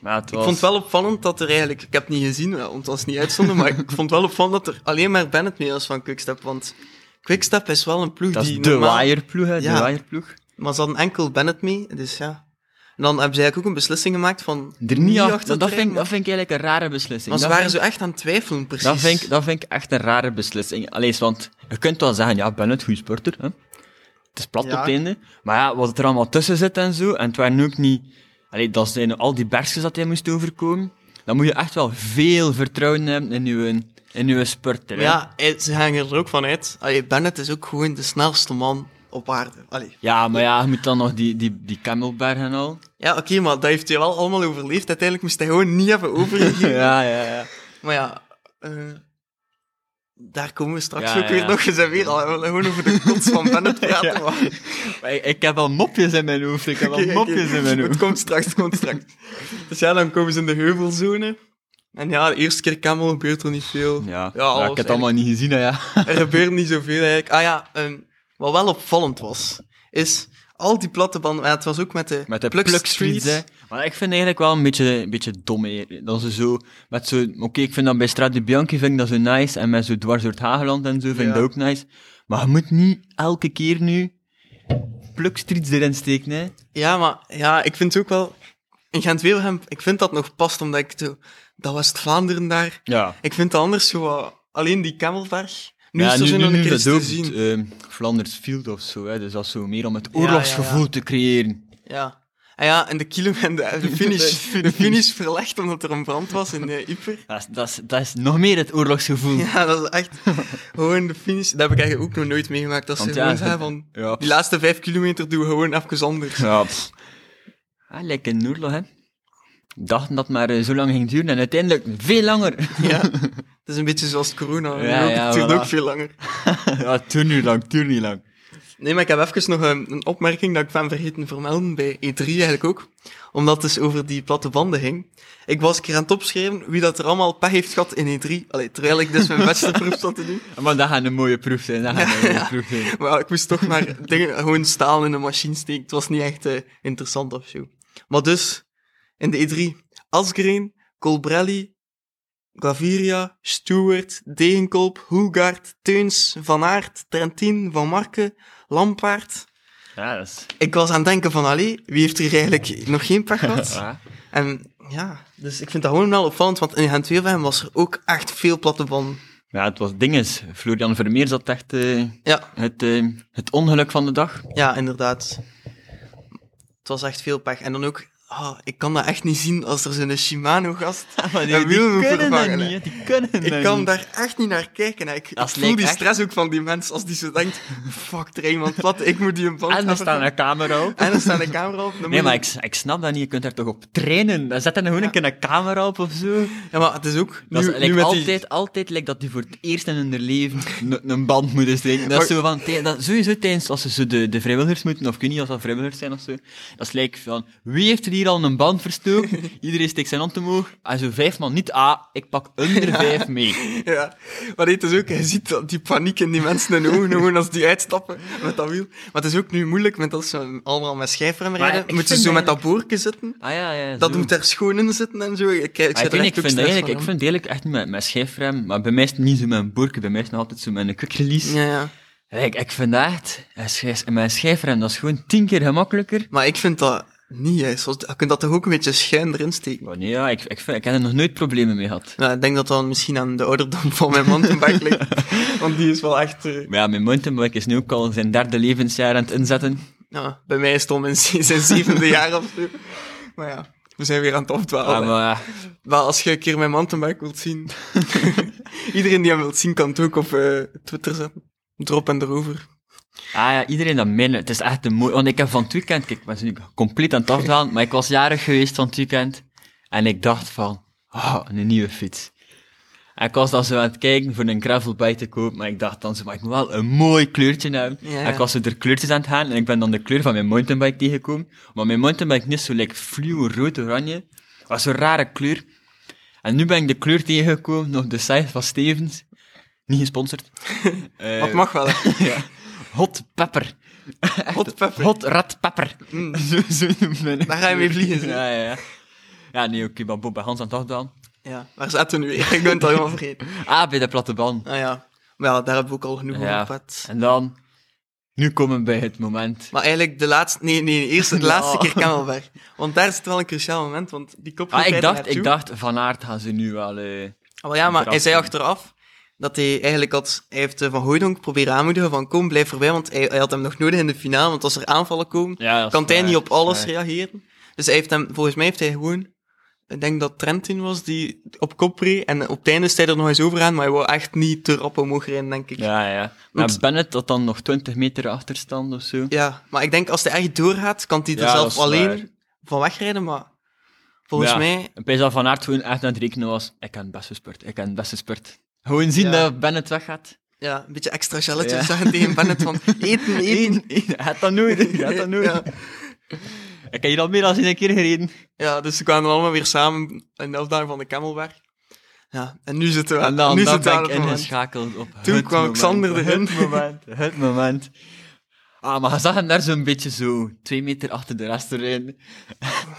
S2: Maar het
S1: Ik
S2: was...
S1: vond het wel opvallend dat er eigenlijk, ik heb het niet gezien, want het was niet uitzonden, maar ik vond het wel opvallend dat er alleen maar Bennett mee was van Quickstep, want Quickstep is wel een ploeg
S2: Dat
S1: die
S2: is de
S1: normaal-
S2: waaierploeg, hè,
S1: Ja.
S2: de waaierploeg.
S1: maar ze hadden enkel Bennett mee, dus ja. En dan hebben ze eigenlijk ook een beslissing gemaakt van
S2: Er niet achter-
S1: achter te
S2: dat, vind, ik-
S1: rijden,
S2: dat vind ik eigenlijk een rare beslissing.
S1: maar ze
S2: Dat
S1: waren
S2: vind
S1: zo echt aan het twijfelen, precies.
S2: Dat vind, ik, dat vind ik echt een rare beslissing. Allee, want je kunt wel zeggen, ja, ben het goede sporter. Hè? Het is plat
S1: Ja.
S2: op het einde. Maar ja, wat er allemaal tussen zit en zo, en het waren ook niet... Allee, dat zijn al die bergjes dat hij moest overkomen. Dan moet je echt wel veel vertrouwen hebben in je, in je sporter.
S1: Maar
S2: hè.
S1: ja, eh, ze gaan er ook van uit. Allee, Bennett is ook gewoon de snelste man op aarde. Allee.
S2: ja, maar ja, je moet dan nog die, die, die camelberg en
S1: [laughs]
S2: al.
S1: Ja, oké, maar dat heeft hij wel allemaal overleefd. Uiteindelijk moest hij gewoon niet hebben
S2: [laughs]
S1: overgegeven.
S2: Ja, ja, ja.
S1: Maar ja, eh, daar komen we straks
S2: Ja,
S1: ook
S2: ja,
S1: weer
S2: ja.
S1: nog eens en weer. al. We willen gewoon over de kots van Bennett praten.
S2: [laughs] Ja.
S1: maar-
S2: Maar ik, ik heb al mopjes in mijn hoofd. Ik heb
S1: Oké,
S2: al
S1: oké.
S2: mopjes in mijn
S1: Het
S2: hoofd.
S1: komt straks, het komt straks. Dus ja, dan komen ze in de heuvelzone. En ja, de eerste keer camel gebeurt er niet veel.
S2: Ja, ja,
S1: alles
S2: ik heb het allemaal niet gezien, hè, ja.
S1: eigenlijk. Er gebeurt niet zoveel eigenlijk. Ah ja, ehm, wat wel opvallend was, is al die platte banden... ja, het was ook met de,
S2: Met de
S1: Plug
S2: plukstreets, hè. Maar ik vind eigenlijk wel een beetje, een beetje dom, hè. Dat ze zo, met zo... Oké, ik vind dat bij Straat de Bianchi vind ik dat zo nice, en met zo dwars door het Hageland en zo vind
S1: Ja.
S2: ik dat ook nice. Maar je moet niet elke keer nu plukstreets erin steken, hè.
S1: Ja, maar ja, ik vind het ook wel... In Gent-Wevelgem, ik vind dat nog past, omdat ik... zo- Dat was het Vlaanderen daar...
S2: Ja.
S1: Ik vind het anders zo wat- alleen die camelberg. Nu
S2: ja,
S1: is er zo nog een keer
S2: dat
S1: iets te
S2: ook,
S1: zien.
S2: ehm, Flanders Field of zo, hè. Dus dat is zo meer om het
S1: Ja,
S2: oorlogsgevoel
S1: ja, ja.
S2: te creëren.
S1: Ja. Ah ja, en de, kilo, en de, de
S2: De
S1: finish,
S2: finish.
S1: [laughs] de finish verlegd omdat er een brand was in eh, Yper.
S2: Dat is, dat, is, dat is nog meer het oorlogsgevoel.
S1: Ja, dat is echt gewoon de finish. Dat heb ik eigenlijk ook nog nooit meegemaakt. Dat ze
S2: Want ja,
S1: gewoon
S2: dat-
S1: zeggen van,
S2: Ja, pff.
S1: die laatste vijf kilometer doen we gewoon even
S2: [laughs]
S1: anders.
S2: Ja, pff. Ah, lekker Noerlo, hè. Dachten dat het maar eh, zo lang ging duren en uiteindelijk veel langer. [laughs]
S1: Ja, het is een beetje zoals corona.
S2: Ja,
S1: ook,
S2: ja,
S1: het duurt
S2: voilà.
S1: ook veel langer.
S2: ja, toen niet lang, toen niet lang.
S1: Nee, maar ik heb even nog ehm, een, een opmerking dat ik ben vergeten vermelden bij E3 eigenlijk ook. Omdat het dus over die platte banden ging. Ik was een keer aan het opschrijven wie dat er allemaal pech heeft gehad in E3. Allee, terwijl ik dus mijn beste proef zat te doen.
S2: Maar dat gaat een mooie proef zijn, dat gaat een mooie proef zijn.
S1: Maar [laughs] ja, ik moest toch maar dingen, gewoon staal in een machine steken. Het was niet echt eh, interessant of zo. Maar dus, in de E3, Asgreen, Colbrelli, Gaviria, Stewart, Degenkolb, Hoegaard, Teuns, Van Aert, Trentin, Van Marken, Lampaard.
S2: Ja, dat is...
S1: Ik was aan het denken van, allee, wie heeft hier eigenlijk nog geen pech gehad?
S2: [laughs] Ja.
S1: En ja, dus ik vind dat gewoon wel opvallend, want in gent hem was er ook echt veel platte banden.
S2: Ja, het was dinges. Florian Vermeer zat echt eh,
S1: Ja,
S2: het, eh, het ongeluk van de dag.
S1: ja, inderdaad. Het was echt veel pech. En dan ook, ah, ik kan dat echt niet zien als er zo'n
S2: [laughs]
S1: Shimano-gast een wiel moet vervangen. hè.
S2: Die kunnen
S1: Ik kan daar echt niet naar kijken. hè. Ik, ik
S2: Dat
S1: voel
S2: lijkt
S1: die
S2: echt-
S1: stress ook van die mens als die zo denkt, [laughs] fuck, er iemand plat, ik moet die een band
S2: En er
S1: gaan
S2: staat
S1: vervangen.
S2: een camera op.
S1: En er staat een camera op. dan moet
S2: Nee,
S1: je-
S2: maar ik, ik snap dat niet. Je kunt daar toch op trainen. Dan zet er gewoon een keer een camera op of zo.
S1: Ja, maar het is ook...
S2: Dat
S1: nu,
S2: is
S1: nu
S2: lijkt
S1: met die-
S2: altijd, altijd lijkt dat die voor het eerst in hun leven [laughs] een- een band moeten steken. Dat is
S1: Maar-
S2: zo van, tij- dat, sowieso tijdens, als ze zo de, de vrijwilligers moeten, of ik weet niet, als dat vrijwilligers zijn of zo, dat is lijkt van, wie heeft er hier al een band [laughs] verstoken? Iedereen steekt zijn hand omhoog. En zo vijf man, niet A, ik pak [laughs] onder vijf mee.
S1: Ja, maar het is ook, je ziet dat die paniek in die mensen in de ogen, gewoon als die uitstappen met dat wiel. Maar het is ook nu moeilijk, met als ze allemaal met schijfrem
S2: Maar
S1: rijden,
S2: ik
S1: moeten ze
S2: vind
S1: zo met dat
S2: eigenlijk-
S1: boorken zitten.
S2: Ah ja, ja,
S1: Dat
S2: zo.
S1: moet daar schoon in zitten en zo. Ik, ik,
S2: Ah,
S1: zit
S2: ik,
S1: er echt
S2: weet niet, ik,
S1: ook
S2: vind
S1: stress
S2: eigenlijk,
S1: van,
S2: ik vind eigenlijk echt met, met schijfrem, maar bij mij is het niet zo met een boerke, bij mij is het nog altijd zo met een quick release.
S1: hoor. Ja, ja.
S2: Ja, Ik, ik vind dat echt, een schijf- met een schijfrem, dat is gewoon tien keer gemakkelijker
S1: Maar ik vind dat niet juist. want Je kunt dat toch ook een beetje schuin erin steken.
S2: Maar nee, ja, ik, ik, vind- ik heb er nog nooit problemen mee gehad.
S1: Nou, ik denk dat dat misschien aan de ouderdom van mijn mountainbike ligt.
S2: [laughs]
S1: Want die is wel echt... eh,
S2: Maar ja, mijn mountainbike is nu ook al zijn derde levensjaar aan het inzetten.
S1: ja, nou, bij mij is het om in z- zijn zevende jaar of zo. Maar ja, we zijn weer aan het opdwalen.
S2: Ah,
S1: hè.
S2: maar,
S1: Maar als je een keer mijn mountainbike wilt
S2: [laughs]
S1: zien, iedereen die hem wilt zien kan het ook op eh, Twitter zetten. Drop en erover.
S2: ah ja, iedereen dat minder. Het is echt een mooi... Want ik heb van het weekend... Kijk, ik ben nu compleet aan het afdalen, maar ik was jarig geweest van het weekend. En ik dacht van... Oh, een nieuwe fiets. En ik was dan zo aan het kijken voor een gravelbike te kopen, maar ik dacht dan zo, maar ik moet wel een mooi kleurtje hebben.
S1: Ja, ja.
S2: En ik was zo er kleurtjes aan het gaan en ik ben dan de kleur van mijn mountainbike tegengekomen. Maar mijn mountainbike niet zo lekker fluo rood-oranje. was zo'n rare kleur. En nu ben ik de kleur tegengekomen op de site van Stevens.
S1: [laughs]
S2: Niet gesponsord. Eh,
S1: Dat mag
S2: [laughs]
S1: wel. hè.
S2: ja. Hot pepper.
S1: Hot pepper.
S2: Hot rat pepper.
S1: Mm.
S2: Zo, zo noemt men het.
S1: Daar ga je mee vliegen, zeg.
S2: Ja, ja, ja. Ja, nee, oké, maar Bob bij Hans aan het afdalen.
S1: Ja, waar zaten we nu? weer? Ik ben het al helemaal
S2: [laughs]
S1: vergeten.
S2: Ah, bij de platte baan.
S1: Nou ja, maar ja, daar hebben we ook al genoeg over
S2: Ja.
S1: gehad.
S2: En dan, nu komen we bij het moment.
S1: Maar eigenlijk de laatste, nee, nee, eerst de
S2: Ja.
S1: laatste keer Camelberg. Want daar is het wel een cruciaal moment, want die kop
S2: Ah, ik dacht, ik dacht, van aard gaan ze nu wel... eh,
S1: Maar Ah, ja, maar hij
S2: Achteraf,
S1: zei
S2: ja.
S1: achteraf dat hij eigenlijk had, hij heeft eh, Van Hooydonk proberen aanmoedigen van kom, blijf voorbij, want hij, hij had hem nog nodig in de finale, want als er aanvallen komen,
S2: Ja, dat is
S1: kan hij
S2: waar,
S1: niet op alles
S2: dat is waar.
S1: reageren. Dus hij heeft hem, volgens mij heeft hij gewoon, ik denk dat Trentin was die op kop reed, en op het einde is hij er nog eens over aan, maar hij wou echt niet te rap omhoog rijden, denk ik. Ja.
S2: Ja, ja.
S1: Want-
S2: En Bennett had dan nog 20 meter achterstand of zo.
S1: maar ik denk als hij echt doorgaat, kan hij er
S2: Ja, dat
S1: zelf
S2: is
S1: alleen
S2: waar.
S1: van wegrijden, maar volgens
S2: Ja,
S1: mij...
S2: Ik denk dat Van Aert gewoon echt aan het rekenen was. Ik heb het beste spurt, ik heb het beste spurt. Gewoon zien
S1: Ja.
S2: dat Bennett weggaat.
S1: Ja, een beetje extra gelletjes
S2: Ja.
S1: zeggen tegen Bennett
S2: [laughs]
S1: van [laughs] eten, eten.
S2: Hij had dat nodig, hij had dat nodig.
S1: [laughs] Ja.
S2: Ik heb hier al meer dan een keer gereden.
S1: Ja, dus ze kwamen allemaal weer samen in de afdaling van de Kemmelberg. Ja, en nu zitten we
S2: En dan,
S1: nu
S2: dan
S1: zitten we aan
S2: ben ik
S1: het moment.
S2: ingeschakeld op
S1: Toen
S2: het
S1: kwam
S2: moment,
S1: Xander erin.
S2: [laughs] Het moment, het moment. Ah, maar je zag hem daar zo'n beetje zo, twee meter achter de rest erin. [laughs]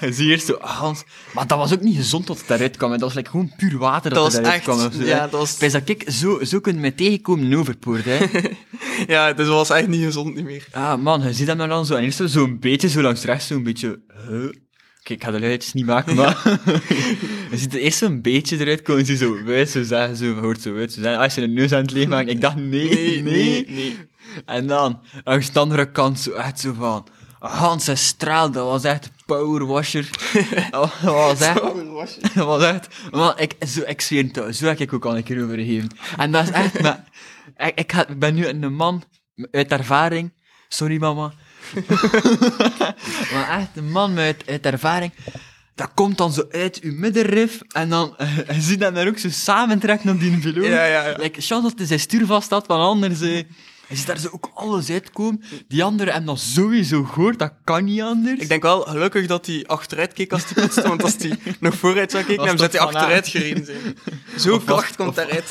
S2: je ziet eerst zo, ah, Hans. Maar dat was ook niet gezond dat het daaruit kwam. hè. Dat was like, gewoon puur water dat,
S1: Dat was
S2: het daaruit
S1: echt-
S2: kwam. of zo, hè.
S1: ja, dat was-
S2: Ik Bij dat kijk, zo, zo kunnen we tegenkomen in Overpoort, hè.
S1: Ja, dus dat was echt niet gezond niet meer.
S2: Ah man, je ziet hem dan zo. En eerst zo zo'n beetje zo langs rechts, zo'n beetje. Huh? Kijk, ik ga de luidjes niet maken, maar. [laughs] je ziet er eerst zo'n beetje eruit komen. Ze zo wuit, zo zeggen, zo hoort zo uit. Ze zeggen, ah, als je de neus aan het leegmaken. Ik dacht, nee, nee,
S1: nee.
S2: En dan, langs de andere kant, zo echt zo van. Hansen straal, dat was echt power [laughs] washer. dat was echt... [laughs] Dat was echt... Man, ik, zo, ik zweer het, zo heb ik ook al een keer overgegeven. En dat is echt... Maar, [laughs] ik, ik, had- ik ben nu een man uit ervaring. Sorry, mama. [laughs] maar echt, een man uit, uit ervaring. Dat komt dan zo uit uw middenrif. En dan [laughs] eh, je ziet dat daar ook zo samentrekken op die beloon.
S1: Ja, ja, ja.
S2: Like, chance dat hij zijn stuur vast had, want anders... eh, je ziet daar zo ook alles uitkomen. Die anderen hebben dat sowieso gehoord, dat kan niet anders.
S1: Ik denk wel gelukkig dat hij achteruit keek als hij pitste, want als hij
S2: [laughs]
S1: nog vooruit zou kijken,
S2: Was
S1: dan zou hij
S2: dat van
S1: achteruit gereden
S2: [laughs]
S1: zijn. Zo
S2: Of was-
S1: klacht komt daaruit.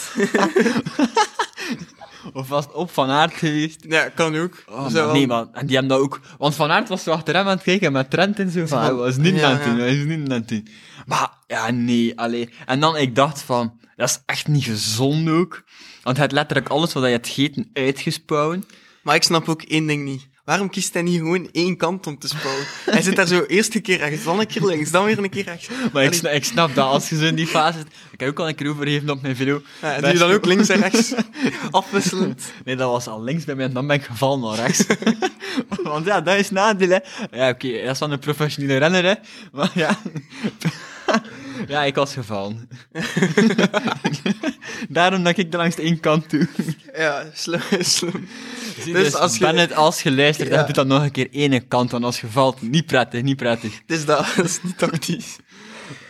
S2: Of was het op Van Aert geweest?
S1: Ja, kan ook.
S2: Oh,
S1: Zo
S2: maar
S1: wel-
S2: nee, man. En die hebben dat ook... Want Van Aert was zo achter hem aan het kijken met Trent en zo. Van, hij was niet
S1: Ja,
S2: aan het doen,
S1: ja.
S2: hij is niet aan het doen. Maar, ja, nee, allee. En dan, ik dacht van, dat is echt niet gezond ook. Want hij had letterlijk alles wat hij had gegeten uitgespouwen.
S1: Maar ik snap ook één ding niet. Waarom kiest hij niet gewoon één kant om te spouwen? Hij zit daar
S2: [laughs]
S1: zo eerst een keer rechts, dan een keer links, dan weer een keer rechts.
S2: Maar ik,
S1: Allee,
S2: sna- ik snap dat, als je zo in die fase zit... Ik heb ook al een keer overgeven op mijn video.
S1: ja,
S2: Dat
S1: doe je
S2: is
S1: dan
S2: zo- [laughs]
S1: ook links en rechts afwisselend?
S2: Nee, dat was al links bij mij en dan ben ik gevallen naar rechts. [laughs] Want ja, dat is het nadeel, hè. Ja, oké, dat is van een professionele renner, hè. Maar ja... [laughs] ja, ik was gevallen. [laughs] Daarom dat ik er langs één kant toe.
S1: Ja, slim, slim.
S2: Zie,
S1: Dus
S2: dus,
S1: als
S2: als
S1: je-
S2: je... het als je luistert,
S1: Ja.
S2: dan doet dat nog een keer ene kant, want als je valt, niet prettig, niet prettig.
S1: Dus dat, [laughs] dat is niet tactisch.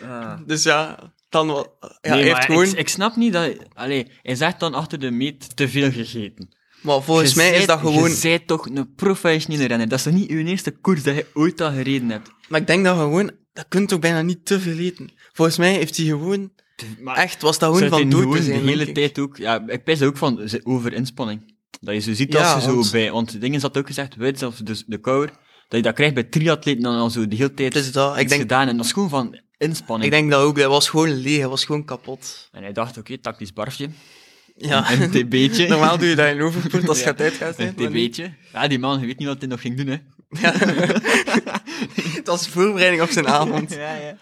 S2: Ah.
S1: Dus ja, dan wel. Ja,
S2: nee,
S1: hij heeft
S2: maar
S1: gewoon...
S2: ik, ik snap niet dat... Allee, hij zegt dan achter de meet te veel gegeten.
S1: Maar volgens
S2: Je
S1: mij is
S2: zijt-
S1: dat gewoon...
S2: Je zijt toch een professionele renner. Dat is toch niet uw eerste koers dat je ooit al gereden hebt?
S1: Maar ik denk dat gewoon... Dat kunt toch bijna niet te veel eten. Volgens mij heeft hij gewoon...
S2: Maar
S1: Echt, was dat gewoon van dood te zijn,
S2: De hele
S1: denk ik.
S2: tijd ook. Ja, ik pijs ook van ze- over inspanning. Dat je zo ziet
S1: Ja,
S2: als je
S1: want-
S2: zo bij... Want dingen zat ook gezegd, weet of de, de kouder, dat je dat krijgt bij triatleten dan al zo de hele tijd
S1: Het is dat.
S2: iets
S1: Ik denk,
S2: gedaan. En dat is gewoon van inspanning.
S1: ik denk dat ook. Hij was gewoon leeg. Hij was gewoon kapot.
S2: En hij dacht, oké, tactisch barfje.
S1: Ja. [laughs]
S2: Een tb'tje.
S1: Normaal doe je dat in overpoort als je
S2: Ja.
S1: gaat uitgaan.
S2: Een tb'tje. Ja, die man, je weet niet wat hij nog ging doen, hè.
S1: [laughs] Het was voorbereiding op zijn avond.
S2: Ja, ja.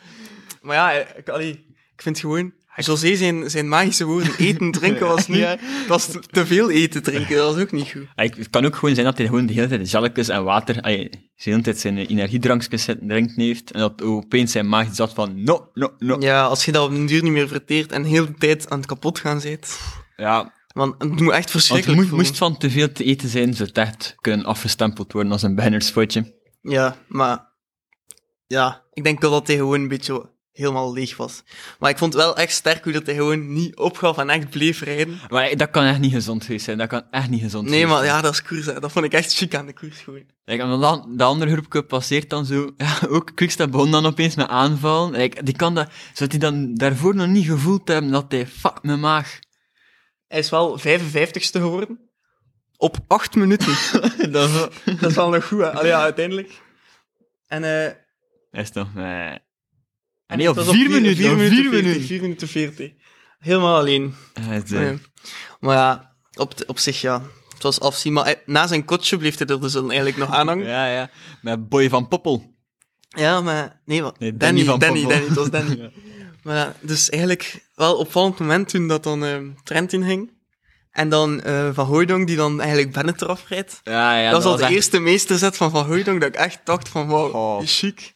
S1: Maar ja, ik, allee, ik vind gewoon... José, zijn, zijn magische woorden, eten, drinken, was
S2: [laughs]
S1: niet...
S2: Ja.
S1: Het was te- te veel eten, drinken, dat was ook niet goed.
S2: Ja, ik- Het kan ook gewoon zijn dat hij gewoon de hele tijd jalletjes en water, allee, de hele tijd zijn eh, energiedrankjes zitten- drinkt heeft, en dat opeens zijn maag zat van no, no, no.
S1: Ja, als je dat op den duur niet meer verteert en heel de tijd aan het kapot gaan bent...
S2: Ja,
S1: Want het moet echt
S2: want het
S1: verschrikkelijk
S2: moest,
S1: voelen.
S2: moest van te veel te eten zijn, zou het echt kunnen afgestempeld worden als een bannersfotje.
S1: Ja, maar... Ja, ik denk wel dat hij gewoon een beetje helemaal leeg was. Maar ik vond het wel echt sterk hoe dat hij gewoon niet opgaf en echt bleef rijden.
S2: Maar dat kan echt niet gezond geweest zijn, dat kan echt niet gezond
S1: Nee, maar
S2: geweest
S1: ja, dat is koers. hè. Dat vond ik echt chic aan de koers gewoon.
S2: zijn. Like, en dan, de andere groepje passeert dan zo, [laughs] ja, ook Quickstep begon dan opeens met aanvallen. Like, die kan dat, zou hij dan daarvoor nog niet gevoeld hebben dat hij, fuck mijn maag,
S1: Hij is wel 55ste geworden. Op 8 minuten.
S2: [laughs] dat zo-
S1: dat is wel nog goed, hè. Allee, ja, uiteindelijk. En... eh
S2: Hij is toch, eh,
S1: en
S2: nee, op
S1: het was
S2: vier minuten,
S1: vier
S2: op vier
S1: minuten 40,
S2: minuten.
S1: vier minuten 40. Helemaal alleen.
S2: hij is, eh,
S1: Nee. Maar ja, op, op zich ja. Het was afzien, maar hij- na zijn kotje bleef hij er dus dan eigenlijk nog aan hangen. Ja,
S2: Ja, ja. Met Boy van Poppel.
S1: maar... Nee, wat?
S2: Nee,
S1: Danny, Danny,
S2: Danny van
S1: Danny,
S2: Poppel.
S1: het was
S2: [laughs]
S1: Danny. Maar ja, dus eigenlijk wel opvallend moment toen dat dan ehm, Trent inging. En dan eh, Van Hooydonk, die dan eigenlijk Bennett eraf rijdt.
S2: Ja, ja.
S1: dat was al de
S2: echt-
S1: eerste meesterzet van Van Hooydonk, dat ik echt dacht van, wauw,
S2: Oh.
S1: die is chic.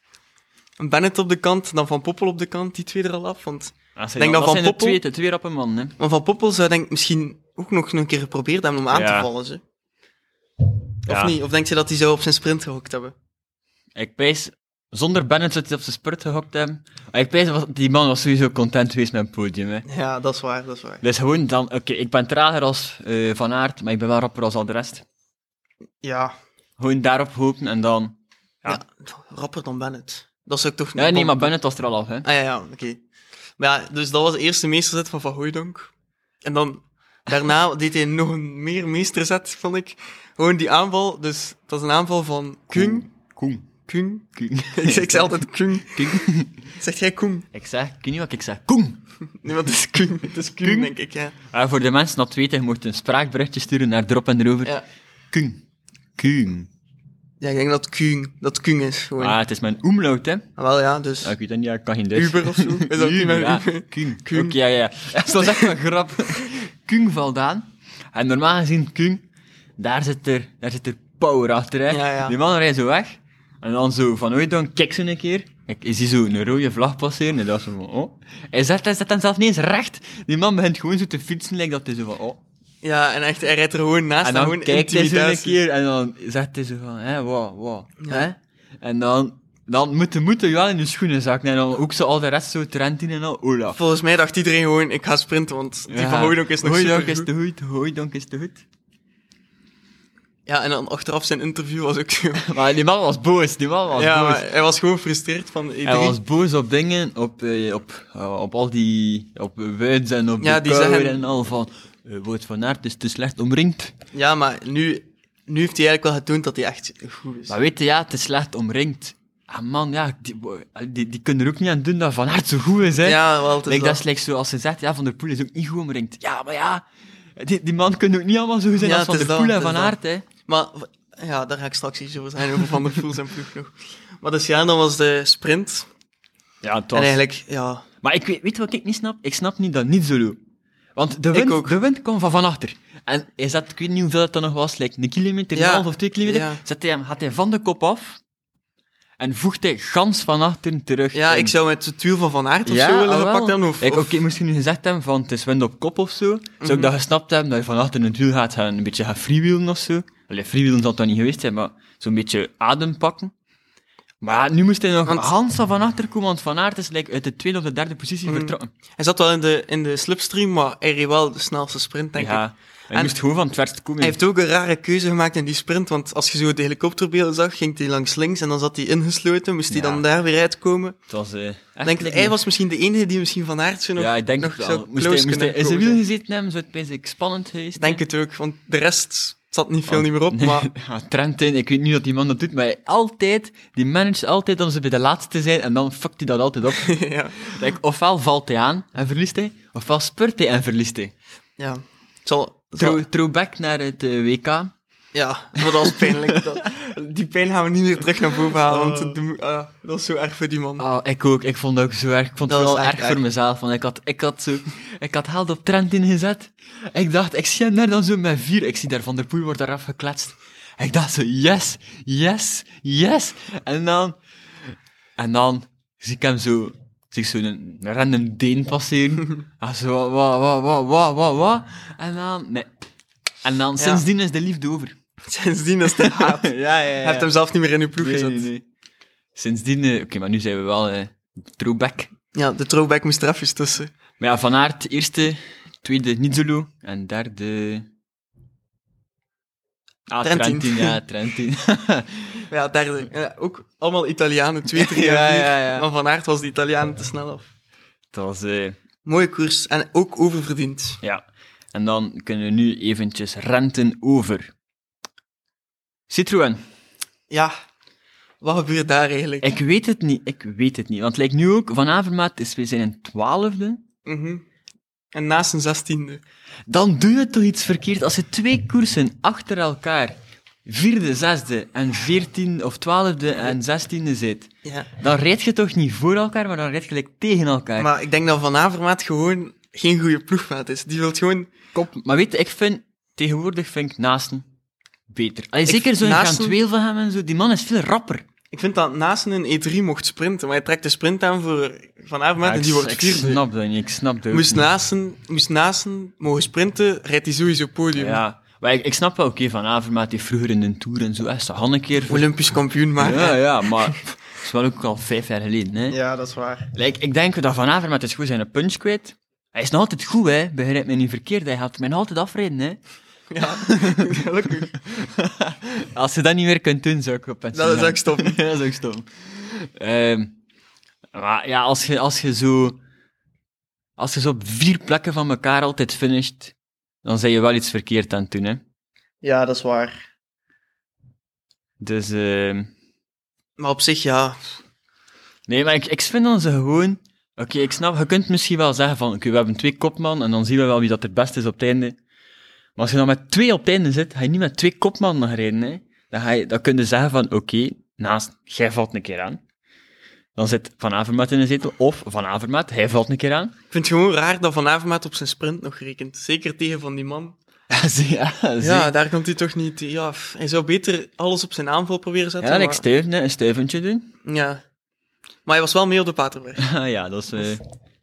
S1: En Bennett op de kant, dan Van Poppel op de kant, die twee er al af. Want,
S2: Dat zijn,
S1: Denk
S2: al-
S1: dat
S2: dat
S1: Van
S2: zijn de
S1: Poppel-
S2: twee, de twee rappe man, hè.
S1: maar Van Poppel zou denk ik misschien ook nog een keer geprobeerd hebben om aan te
S2: Ja.
S1: vallen. Ze. Of
S2: Ja.
S1: niet? Of denk je dat hij zou op zijn sprint gehokt hebben?
S2: Ik pijs, zonder Bennett zou hij op zijn spurt gehokt hebben. Maar ik pijs, was- die man was sowieso content geweest met het podium, hè.
S1: Ja, dat is waar, dat is waar.
S2: Dus gewoon dan, oké, ik ben trager als eh, Van Aert, maar ik ben wel rapper als al de rest.
S1: Ja,
S2: Gewoon daarop hopen en dan...
S1: ja.
S2: Ja.
S1: rapper dan Bennett. Dat zou ik toch niet...
S2: Ja, nee,
S1: van-
S2: maar Bennett was er al af, hè.
S1: Ah ja, ja oké. Maar ja, dus dat was de eerste meesterzet van Van Hooijdonk. En dan, daarna [laughs] deed hij nog een meer meesterzet, vond ik. Gewoon die aanval, dus dat is een aanval van Kung.
S2: Koen.
S1: Kung.
S2: [laughs]
S1: [laughs]
S2: Koen.
S1: Ik zeg, ik zeg altijd Kung.
S2: Koen.
S1: Zeg jij Kung?
S2: Ik zeg, ik weet niet wat ik zeg. Koen!
S1: Nee, want het is Kung. Het is Kung,
S2: Kung?
S1: denk ik, ja.
S2: Ah, voor de mensen dat het weten, je moet een spraakberichtje sturen naar Drop en Erover.
S1: Ja.
S2: Koen. Koen.
S1: Ja, ik denk dat Kung, dat Kung is gewoon.
S2: Ah, het is mijn umlaut, hè.
S1: Ah, wel ja, dus...
S2: Ah, ik weet dat niet, ja, ik kan geen Duits.
S1: Uber of zo.
S2: [laughs]
S1: Is dat niet
S2: Uber,
S1: meer
S2: ja.
S1: Uber?
S2: Kung.
S1: Kung.
S2: Ook, ja, ja. [laughs] Dat was echt een grap. [laughs] Kung valt aan. En normaal gezien, Kung, daar zit er, daar zit er power achter, hè.
S1: Ja, ja.
S2: Die man rijdt zo weg. En dan zo van ooit dan kijk ze een keer. Ik je ziet zo een rode vlag passeren. En dat is zo van, oh. Hij zet, hij zet hem zelf niet eens recht. Die man begint gewoon zo te fietsen. Lijkt dat hij zo van, oh.
S1: Ja, en echt, hij rijdt er gewoon naast.
S2: En dan
S1: gewoon
S2: kijkt hij zo een
S1: intimidatie.
S2: keer. En dan zegt hij zo van, hè, wow, wow.
S1: Ja.
S2: Hè? En dan, dan moet de moeder wel in je schoenen zakken. En dan ook zo al de rest zo Trentin en al Olaf.
S1: Volgens mij dacht iedereen gewoon, ik ga sprinten, want die van Hooydonk is nog
S2: Hooydonk
S1: supergoed.
S2: is te goed, Hooydonk is te goed.
S1: Ja, en dan achteraf zijn interview was ook zo.
S2: Maar die man was boos, die man was
S1: ja,
S2: boos.
S1: maar hij was gewoon gefrustreerd van E3.
S2: Oh, Hij was boos op dingen, op, eh, op, eh, op al die, op Wuds en op
S1: Ja,
S2: de
S1: die
S2: Kouwer
S1: zeggen-
S2: en al van, eh Wout van Aert is te slecht omringd.
S1: Ja, maar nu, nu heeft hij eigenlijk wel getoond dat hij echt goed is.
S2: Maar weet je, ja, te slecht omringd. Ah man, ja, die, die, die kunnen er ook niet aan doen dat Van Aert zo goed is, hè.
S1: ja, wel, het is
S2: Like,
S1: wel-
S2: dat is like zo, als ze zegt, ja, Van der Poel is ook niet goed omringd. Ja, maar ja, die, die man kunnen ook niet allemaal zo goed zijn
S1: Ja,
S2: als Van
S1: het
S2: der
S1: is
S2: Poel
S1: dat,
S2: en
S1: het is
S2: Van Aert, hè.
S1: Maar v- ja, daar ga ik straks iets over zijn, over Van der Poel zijn ploeg nog. Maar dus ja, dan was de sprint.
S2: Ja, het
S1: En eigenlijk, ja,
S2: Maar ik weet, weet wat ik niet snap? Ik snap niet dat niet zo Want de
S1: Ik
S2: wind,
S1: ook.
S2: de wind kwam van van achter. En hij zat, ik weet niet hoeveel dat dan nog was, like een kilometer,
S1: Ja,
S2: een half of twee kilometer,
S1: ja.
S2: zat hij, hem- had hij van de kop af en voegde hij gans van achteren terug.
S1: ja
S2: in.
S1: ik zou met de tuil van Van Aert of
S2: Ja,
S1: zo willen
S2: ah, wel.
S1: gepakt hebben. Of, Mhm.
S2: Ik,
S1: of-
S2: oké, moest je nu gezegd hebben van het is wind op kop of zo, zou ik dat gesnapt hebben dat je van achter een wiel gaat gaan, een beetje gaan freewheelen of zo. Allee, freewheelen zal dat niet geweest zijn, maar zo'n beetje adem pakken. Maar ja, nu moest hij nog
S1: Want-
S2: Hans van van achter komen, want Van Aert is like, uit de tweede of de derde positie
S1: Mhm.
S2: vertrokken.
S1: Hij zat wel in de, in de slipstream, maar hij reed wel de snelste sprint, denk ik.
S2: Ja, hij
S1: En-
S2: moest gewoon van het verst komen.
S1: Hij heeft ook een rare keuze gemaakt in die sprint, want als je zo de helikopterbeelden zag, ging hij langs links en dan zat hij ingesloten, moest hij
S2: Ja.
S1: dan daar weer uitkomen.
S2: Het was, eh, echt
S1: Denk,
S2: like
S1: hij
S2: een-
S1: was misschien de enige die misschien Van Aert zo nog,
S2: ja, ik denk
S1: nog
S2: het
S1: zo
S2: wel. Moest
S1: close
S2: hij, moest hij
S1: kunnen
S2: in zijn wiel
S1: komen.
S2: gezeten hebben, zou het best ik spannend geweest
S1: Ik denk het ook, want de rest zat niet veel niet meer op,
S2: Nee,
S1: maar
S2: [laughs]
S1: [laughs]
S2: ja, Trentin, ik weet niet wat die man dat doet, maar hij altijd, die managt altijd om ze bij de laatste te zijn en dan fuckt hij dat
S1: [laughs]
S2: altijd op.
S1: ja.
S2: Like, ofwel valt hij aan en verliest hij, ofwel spurt hij en verliest hij.
S1: ja. Het zal, het zal-
S2: Throw, throwback naar het eh, WK.
S1: ja, dat was pijnlijk. Dat-
S2: [laughs]
S1: die pijn gaan we niet meer terug naar boven halen, want het doe- ah, dat is zo erg voor die man. [laughs]
S2: Oh, ik ook, ik vond dat ook zo erg. Ik vond
S1: Dat
S2: het
S1: was
S2: wel
S1: echt
S2: erg voor
S1: erg.
S2: mezelf, want ik had, ik had zo, ik had held op Trentin gezet. Ik dacht, ik zie hem daar dan zo met vier, ik zie daar Van der Poel wordt eraf gekletst. Ik dacht zo, yes, yes, yes. En dan, en dan zie ik hem zo, zie ik zo een random Deen passeren. [laughs] en zo, wa, wa, wa, wa, wa, wa. En dan, nee. En dan,
S1: Ja.
S2: sindsdien is de liefde over.
S1: Sindsdien is het haat. Hij
S2: [laughs] ja, ja.
S1: heeft hem zelf niet meer in uw ploeg
S2: nee,
S1: gezet.
S2: nee, nee. Sindsdien, eh, oké, maar nu zijn we wel eh throwback.
S1: Ja, de throwback moest er even tussen.
S2: Maar ja, Van Aert, eerste, tweede Nizzolo en derde... Ah,
S1: Trentin.
S2: Trentin. ja, Trentin. [laughs]
S1: Ja, derde. Ja, ook allemaal Italianen,
S2: [laughs]
S1: twee, drie
S2: Ja,
S1: en vier.
S2: ja, ja.
S1: Maar Van Aert was de Italianen te snel af.
S2: Dat was, eh,
S1: Mooie koers en ook oververdiend.
S2: ja. En dan kunnen we nu eventjes renten over. Citroën.
S1: Ja, wat gebeurt daar eigenlijk?
S2: Ik weet het niet, ik weet het niet. Want lijkt nu ook, Van Avermaat is, we zijn in twaalfde.
S1: Mhm. En naast een zestiende.
S2: Dan doe je toch iets verkeerd als je twee koersen achter elkaar, vierde, zesde en veertiende of twaalfde en zestiende zit.
S1: Ja.
S2: Dan rijd je toch niet voor elkaar, maar dan rijd je gelijk tegen elkaar. Maar,
S1: Maar ik denk dat Van Avermaat gewoon geen goede ploegmaat is. Die wil gewoon
S2: Kop, maar weet je, ik vind, tegenwoordig vind ik naasten beter. Allee,
S1: Ik
S2: zeker
S1: vind
S2: zo'n
S1: Naasten-
S2: Gantueel van hem en zo, die man is veel rapper.
S1: Ik vind dat Naasten een E3 mocht sprinten, maar hij trekt de sprint aan voor Van Avermaat
S2: Ja,
S1: en
S2: ik,
S1: die wordt
S2: ik
S1: vierde.
S2: snap dat niet, ik snap dat ook
S1: Moest
S2: niet.
S1: Naasten, moest Naasten mogen sprinten, rijdt hij sowieso podium.
S2: Ja, maar ik, ik snap wel, oké, Van Avermaat die vroeger in de Tour en zo, hij is toch al een keer... voor-
S1: Olympisch kampioen maken.
S2: Ja, ja, maar het is wel ook al vijf jaar geleden, hè.
S1: Ja, dat is waar.
S2: Like, ik denk dat Van Avermaet is goed zijn een punch kwijt. Hij is nog altijd goed, hè. Begrijp me niet verkeerd. Hij gaat mij nog altijd afreden, hè.
S1: Ja, [laughs] gelukkig.
S2: Als je dat niet meer kunt doen, zou ik op pensioen
S1: Dat is
S2: gaan.
S1: ook stom.
S2: [laughs] dat is ook stom. Ehm, maar ja, als je, als je zo... Als je zo op vier plekken van elkaar altijd finisht, dan ben je wel iets verkeerd aan het doen, hè.
S1: Ja, dat is waar.
S2: Dus... ehm,
S1: Maar op zich, ja.
S2: Nee, maar ik, ik vind dan ze gewoon... Oké, ik snap, je kunt misschien wel zeggen van, oké, we hebben twee kopman en dan zien we wel wie dat het beste is op het einde. Maar als je dan met twee op het einde zit, ga je niet met twee kopman nog rijden, hè. Dan, ga je, dan kun je zeggen van, oké, naast, jij valt een keer aan. Dan zit Van Avermaet in de zetel, of Van Avermaet, hij valt een keer aan.
S1: Ik vind het gewoon raar dat Van Avermaat op zijn sprint nog rekent. Zeker tegen van die man.
S2: zie, [laughs] ja, zie.
S1: Ja, daar komt hij toch niet... Ja, pff, hij zou beter alles op zijn aanval proberen
S2: ja,
S1: zetten.
S2: dan ik
S1: maar-
S2: stuiven, hè, een stuiventje doen. [laughs]
S1: Ja. Maar hij was wel mee op de Paterberg.
S2: Ah, ja, dat is, eh, het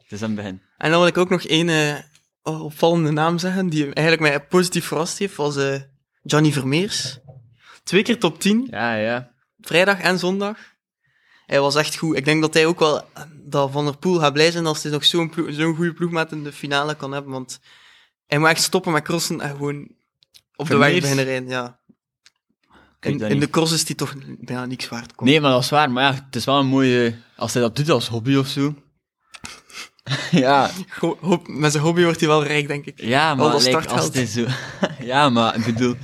S2: is aan het begin.
S1: En dan wil ik ook nog één eh, opvallende naam zeggen, die eigenlijk mij positief verrast heeft, was eh, Johnny Vermeers. Twee keer top 10,
S2: Ja, ja.
S1: vrijdag en zondag. Hij was echt goed. Ik denk dat hij ook wel, eh, dat Van der Poel gaat blij zijn als hij nog zo'n ploeg- zo'n goede ploegmaat in de finale kan hebben, want hij moet echt stoppen met crossen en gewoon op de weg
S2: Vermeers?
S1: beginnen rijden. Ja.
S2: Kijk,
S1: In,
S2: dat
S1: in
S2: niet.
S1: de cross is hij toch bijna niks waard. Kom.
S2: Nee, maar dat is waar. Maar ja, het is wel een mooie... Als hij dat doet als hobby of
S1: [laughs]
S2: zo. ja.
S1: Go- hoop- met zijn hobby wordt hij wel rijk, denk ik.
S2: Ja, maar
S1: Al dat
S2: like, als
S1: startgeld.
S2: het is zo... [laughs] ja, maar ik bedoel...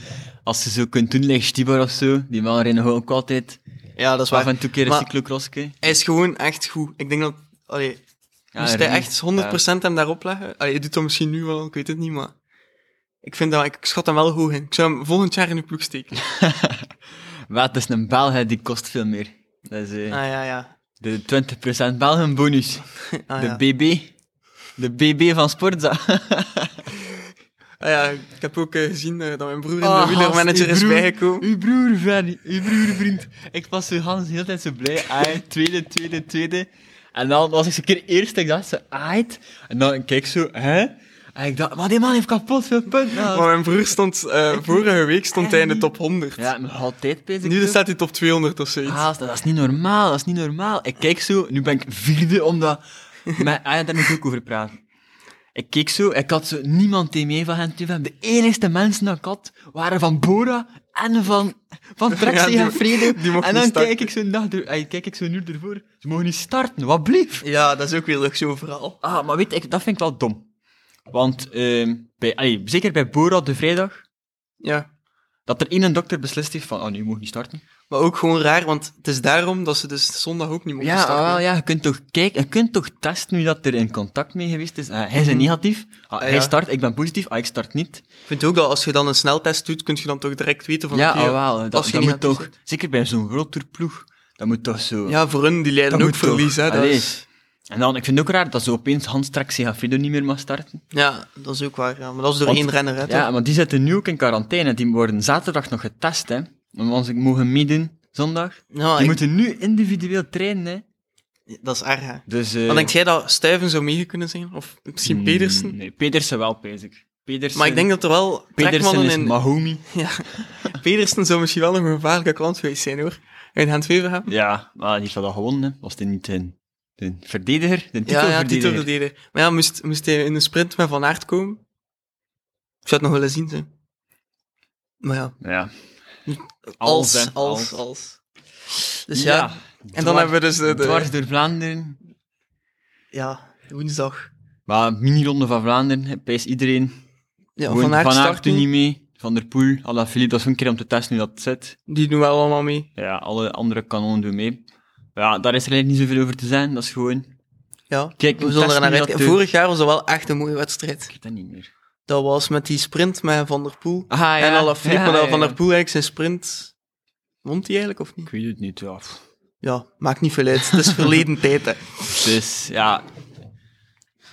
S2: Als je zo kunt doen, like Stibar of zo, die man rennen gewoon ook altijd.
S1: Ja, dat is
S2: Af
S1: waar.
S2: en toe keer een
S1: Maar-
S2: cyclocrossje.
S1: Hij is gewoon echt goed. Ik denk dat... Allee,
S2: Ja,
S1: moest hij
S2: rennen.
S1: echt 100% hem daarop leggen? Allee, hij doet dat misschien nu wel, ik weet het niet, maar... Ik vind dat... Ik schat hem wel hoog in. Ik zou hem volgend jaar in de ploeg steken.
S2: Ja. Maar het is een Belg, die kost veel meer. Dat is eh,
S1: Ah ja, ja.
S2: de 20% Belgen bonus.
S1: Ah,
S2: de
S1: ja.
S2: BB. De BB van Sportza. [laughs]
S1: Ah, ja. Ik heb ook eh, gezien eh, dat mijn broer in de
S2: Ah,
S1: wielermanager
S2: gast,
S1: is
S2: uw broer-
S1: bijgekomen.
S2: Uw broer, Fanny. Uw broer, vriend. Ik was zo Hans heel de tijd zo blij. Ai, tweede, tweede, tweede. En dan was ik zo een keer eerst. Ik dacht zo, ait. En dan kijk ik zo, hè? En ik dacht, maar die man heeft kapot veel punten.
S1: Maar mijn broer stond... [laughs] eh, vorige week stond hij in de top 100.
S2: Ja, maar altijd bezig.
S1: Nu staat hij top 200 of zoiets.
S2: Haast, Ah, dat is niet normaal, dat is niet normaal. Ik kijk zo, nu ben ik vierde, omdat... Maar, ah ja, daar moet ik ook over praten. Ik keek zo, ik had zo niemand die mee van hen toe. De enigste mensen dat ik had, waren van Bora en van,
S1: [laughs]
S2: van Trexie
S1: Ja, die-
S2: en Fredo.
S1: die mochten
S2: En dan
S1: niet starten.
S2: kijk ik zo'n dag, er- ah, kijk ik zo'n uur ervoor. Ze mogen niet starten, wat blief.
S1: Ja, dat is ook weer nog zo'n verhaal.
S2: Ah, maar weet ik, dat vind ik wel dom. Want, ehm, bij, allee, zeker bij Bora op de vrijdag,
S1: Ja.
S2: dat er één dokter beslist heeft van, ah, nu mogen niet starten.
S1: Maar ook gewoon raar, want het is daarom dat ze dus zondag ook niet mogen
S2: Ja,
S1: starten.
S2: ah, wel, ja, je kunt toch kijken, je kunt toch testen wie dat er in contact mee geweest is. Ah, hij is een negatief, ah,
S1: Mhm. ja.
S2: hij start, ik ben positief, ah, ik start niet.
S1: Ik vind ook dat als je dan een sneltest doet, kun je dan toch direct weten van...
S2: ja,
S1: oké,
S2: ah, wel, dat,
S1: als je
S2: dat
S1: niet
S2: moet
S1: aan het
S2: toch, zeker bij zo'n worldtourploeg, dat moet toch zo.
S1: Ja, voor hun, die lijden
S2: dat
S1: ook
S2: moet toch.
S1: verlies, hè. Dat
S2: Allee.
S1: is,
S2: En dan, ik vind het ook raar dat zo opeens Hans Trek Segafredo niet meer mag starten.
S1: ja, dat is ook waar. Ja. Maar dat is door
S2: Want-
S1: één renner, hè.
S2: Ja,
S1: toch?
S2: maar die zitten nu ook in quarantaine, die worden zaterdag nog getest, hè. Want ze mogen meedoen, zondag.
S1: Ja,
S2: Die
S1: Nou, Ah, ik-
S2: moeten nu individueel trainen, hè.
S1: dat is erg, hè.
S2: Dus, eh,
S1: Maar Ah, denk jij dat Stuyven zou mee kunnen zijn? Of misschien
S2: mm,
S1: Pedersen?
S2: Nee, Pedersen wel, bezig. Pedersen,
S1: Maar ik denk dat er wel
S2: Pedersen
S1: trekmannen
S2: is
S1: in...
S2: Mahomi.
S1: Ja. Pedersen zou misschien wel nog een gevaarlijke klant geweest zijn, hoor. In gent hebben.
S2: Ja, maar die had dat gewonnen, hè. Was dit niet een, een verdediger? Een
S1: Ja, ja,
S2: titelverdediger?
S1: titelverdediger. Maar ja, moest, moest hij in een sprint met Van Aert komen? Ik zou het nog willen zien, hè. Maar ja,
S2: ja.
S1: als, als,
S2: hè,
S1: als.
S2: als.
S1: Dus ja, en dan hebben we dus de... de-
S2: Dwars door Vlaanderen.
S1: Ja, woensdag.
S2: Maar mini-ronde van Vlaanderen, pijs iedereen.
S1: Ja,
S2: Gewoon,
S1: Van Aert start
S2: doet
S1: niet.
S2: niet mee. Van der Poel, Alaphilippe, dat is een keer om te testen hoe dat zit.
S1: Die doen wel allemaal mee.
S2: Ja, alle andere kanonnen doen mee. Ja, daar is er eigenlijk niet zoveel over te zijn. Dat is gewoon... Ik
S1: Ja,
S2: Kijk,
S1: we zullen er naar
S2: testen
S1: uit.
S2: dat de-
S1: Vorig jaar was dat wel echt een mooie wedstrijd.
S2: weet dat niet meer.
S1: Dat was met die sprint met Van der Poel.
S2: Ah, ja.
S1: En Alaphilippe,
S2: Ja,
S1: maar dat
S2: ja,
S1: Van
S2: ja.
S1: der Poel eigenlijk zijn sprint... Wond hij eigenlijk of niet?
S2: Ik weet het niet, ja. Pff.
S1: Ja, maakt niet veel uit. Het is [laughs] verleden tijd, hè.
S2: Dus ja,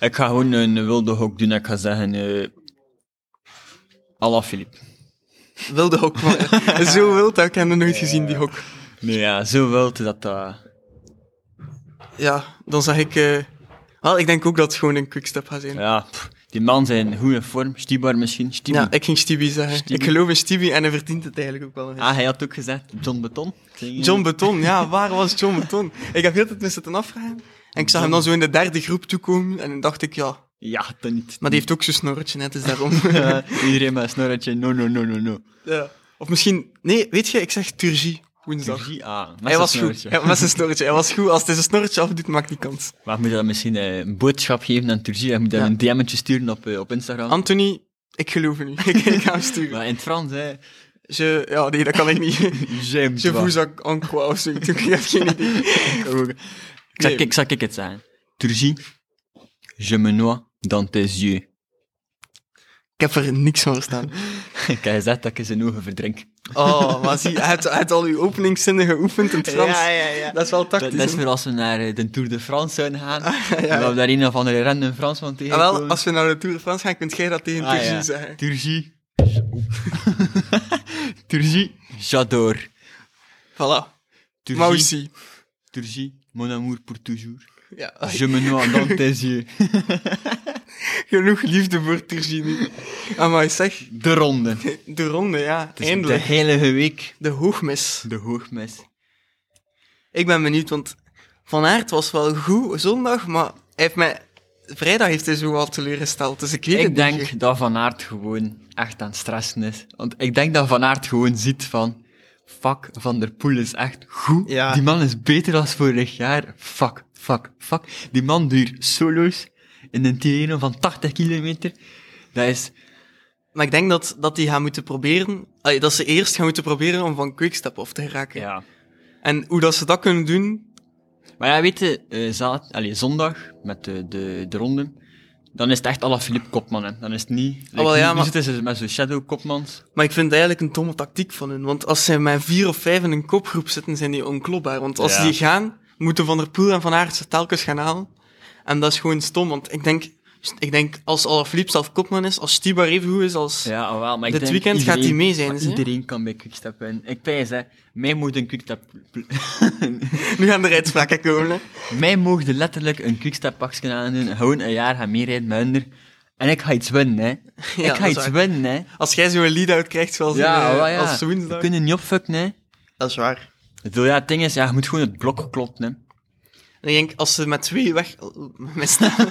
S2: ik ga gewoon een wilde hok doen. Ik ga zeggen, eh Ala Filip.
S1: Wilde hok. [laughs] Maar, zo wild, dat ik heb nog nooit gezien, die hok.
S2: Nee, ja, zo wild dat eh, dat.
S1: Ja, dan zag ik... eh, Wel, ik denk ook dat het gewoon een quickstep gaat zijn. Ja,
S2: Ja, pff, die man zijn in goede vorm. Stibar misschien. Stibar.
S1: ik ging Stevie zeggen.
S2: Stevie.
S1: Ik geloof in Stevie en hij verdient het eigenlijk ook wel. een
S2: Ah, hij had ook gezegd, John Beton.
S1: John Beton, ja, waar was John Beton? Ik heb heel de tijd me zitten afvragen. En ik zag hem dan zo in de derde groep toekomen. En dan dacht ik, ja,
S2: Ja, dat niet.
S1: maar die heeft ook zo'n snorretje, net is [laughs] daarom.
S2: [laughs] Eh, iedereen met een snorretje, no, no, no, no, no.
S1: ja. Of misschien, nee, weet je, ik zeg Turgie woensdag.
S2: Zie, ah, met
S1: Hij
S2: zijn
S1: was
S2: snorretje.
S1: goed. Ja, met zijn snorretje. Hij was goed. Als hij zijn snorretje afdoet, maakt niet kans.
S2: Maar moet je dan misschien eh, een boodschap geven aan Turgie? Hij moet dan
S1: Ja.
S2: een DM'tje sturen op, eh, op Instagram.
S1: Anthony, ik geloof in u. Ik, [laughs] ik ga hem sturen.
S2: maar in het Frans, hè.
S1: Je, ja, nee, dat kan ik [laughs] niet.
S2: J'aime
S1: Je
S2: toi.
S1: voezak en quoi of zoiets. Ik heb geen idee.
S2: Ik zal,
S1: Nee.
S2: ik, zal ik het zeggen? Turgie, je me noie dans tes yeux. [laughs]
S1: Ik heb er niks van verstaan.
S2: ik heb gezegd dat ik in zijn ogen verdrink.
S1: Oh, maar zie, hij had, hij had al uw openingszinnen geoefend in het Frans.
S2: ja, ja.
S1: Dat is wel
S2: Dat,
S1: tactisch.
S2: dat is
S1: hè?
S2: weer als we naar eh, de Tour de France zouden gaan.
S1: Ah, ja, ja.
S2: En we hebben daar een of andere random Fransman
S1: Ah,
S2: tegengekomen.
S1: wel, als we naar de Tour de France gaan, kunt jij dat tegen
S2: Ah,
S1: Turgie
S2: ja.
S1: zeggen. [laughs]
S2: Turgie, Turgie, j'adore.
S1: Voilà.
S2: Turgie,
S1: Maar aussi.
S2: Turgie, mon amour pour toujours.
S1: Ja.
S2: Je me noie dans tes yeux.
S1: [laughs] Genoeg liefde voor Turgini. Amai, zeg.
S2: De
S1: [laughs]
S2: ronde.
S1: De ronde, ja.
S2: Het is
S1: Eindelijk.
S2: de heilige week.
S1: De hoogmis.
S2: De hoogmis.
S1: Ik ben benieuwd, want Van Aert was wel goed zondag, maar hij heeft mij... Vrijdag heeft hij zo wat teleurgesteld, dus ik weet
S2: Ik
S1: het niet.
S2: denk dat Van Aert gewoon echt aan het stressen is. Want ik denk dat Van Aert gewoon ziet van... Fuck, Van der Poel is echt goed.
S1: Ja.
S2: Die man is beter dan vorig jaar. Fuck, fuck, fuck. Die man duurt solo's in een terreno van 80 kilometer. Dat is...
S1: Maar ik denk dat, dat die gaan moeten proberen... allee, dat ze eerst gaan moeten proberen om van Quickstep af te geraken.
S2: Ja.
S1: En hoe dat ze dat kunnen doen...
S2: Maar ja, weet je, eh, zaad, allee, zondag met de, de, de ronde, dan is het echt alle Philippe Kopman. Hè. Dan is het niet. Like,
S1: wel,
S2: nu-
S1: ja,
S2: nu
S1: maar-
S2: zitten ze met zo'n shadow Kopmans.
S1: Maar ik vind het eigenlijk een domme tactiek van hun. Want als ze met vier of vijf in een kopgroep zitten, zijn die onklopbaar. Want als
S2: Ja.
S1: die gaan, moeten Van der Poel en Van Aert ze telkens gaan halen. En dat is gewoon stom, want ik denk... Ik denk, als Alaphilippe zelf kopman is, als Stibar even goed is, als...
S2: Ja, alweer, maar ik
S1: Dit
S2: denk
S1: weekend gaat
S2: iedereen-
S1: hij mee zijn,
S2: maar
S1: dus, hè?
S2: Iedereen kan bij Quickstep winnen. Ik pijs, hè. Mij moet een Quickstep... [laughs]
S1: Nu gaan de uitspraken komen, hè.
S2: Mij mogen letterlijk een Quickstep pakje aan doen. Gewoon een jaar gaan meerijden met hun. En ik ga iets winnen,
S1: [laughs]
S2: hè.
S1: dat
S2: ik ga
S1: is
S2: iets
S1: waar.
S2: winnen, hè.
S1: Als jij zo'n lead-out krijgt zoals
S2: Ja,
S1: eh,
S2: alweer, ja.
S1: als woensdag.
S2: We kunnen niet opfucken, hè.
S1: Dat is waar.
S2: Ik bedoel, ja, het ding is, ja, je moet gewoon het blok kloppen, hè.
S1: En ik denk, als ze met twee weg... [laughs] Mijn stem. [laughs]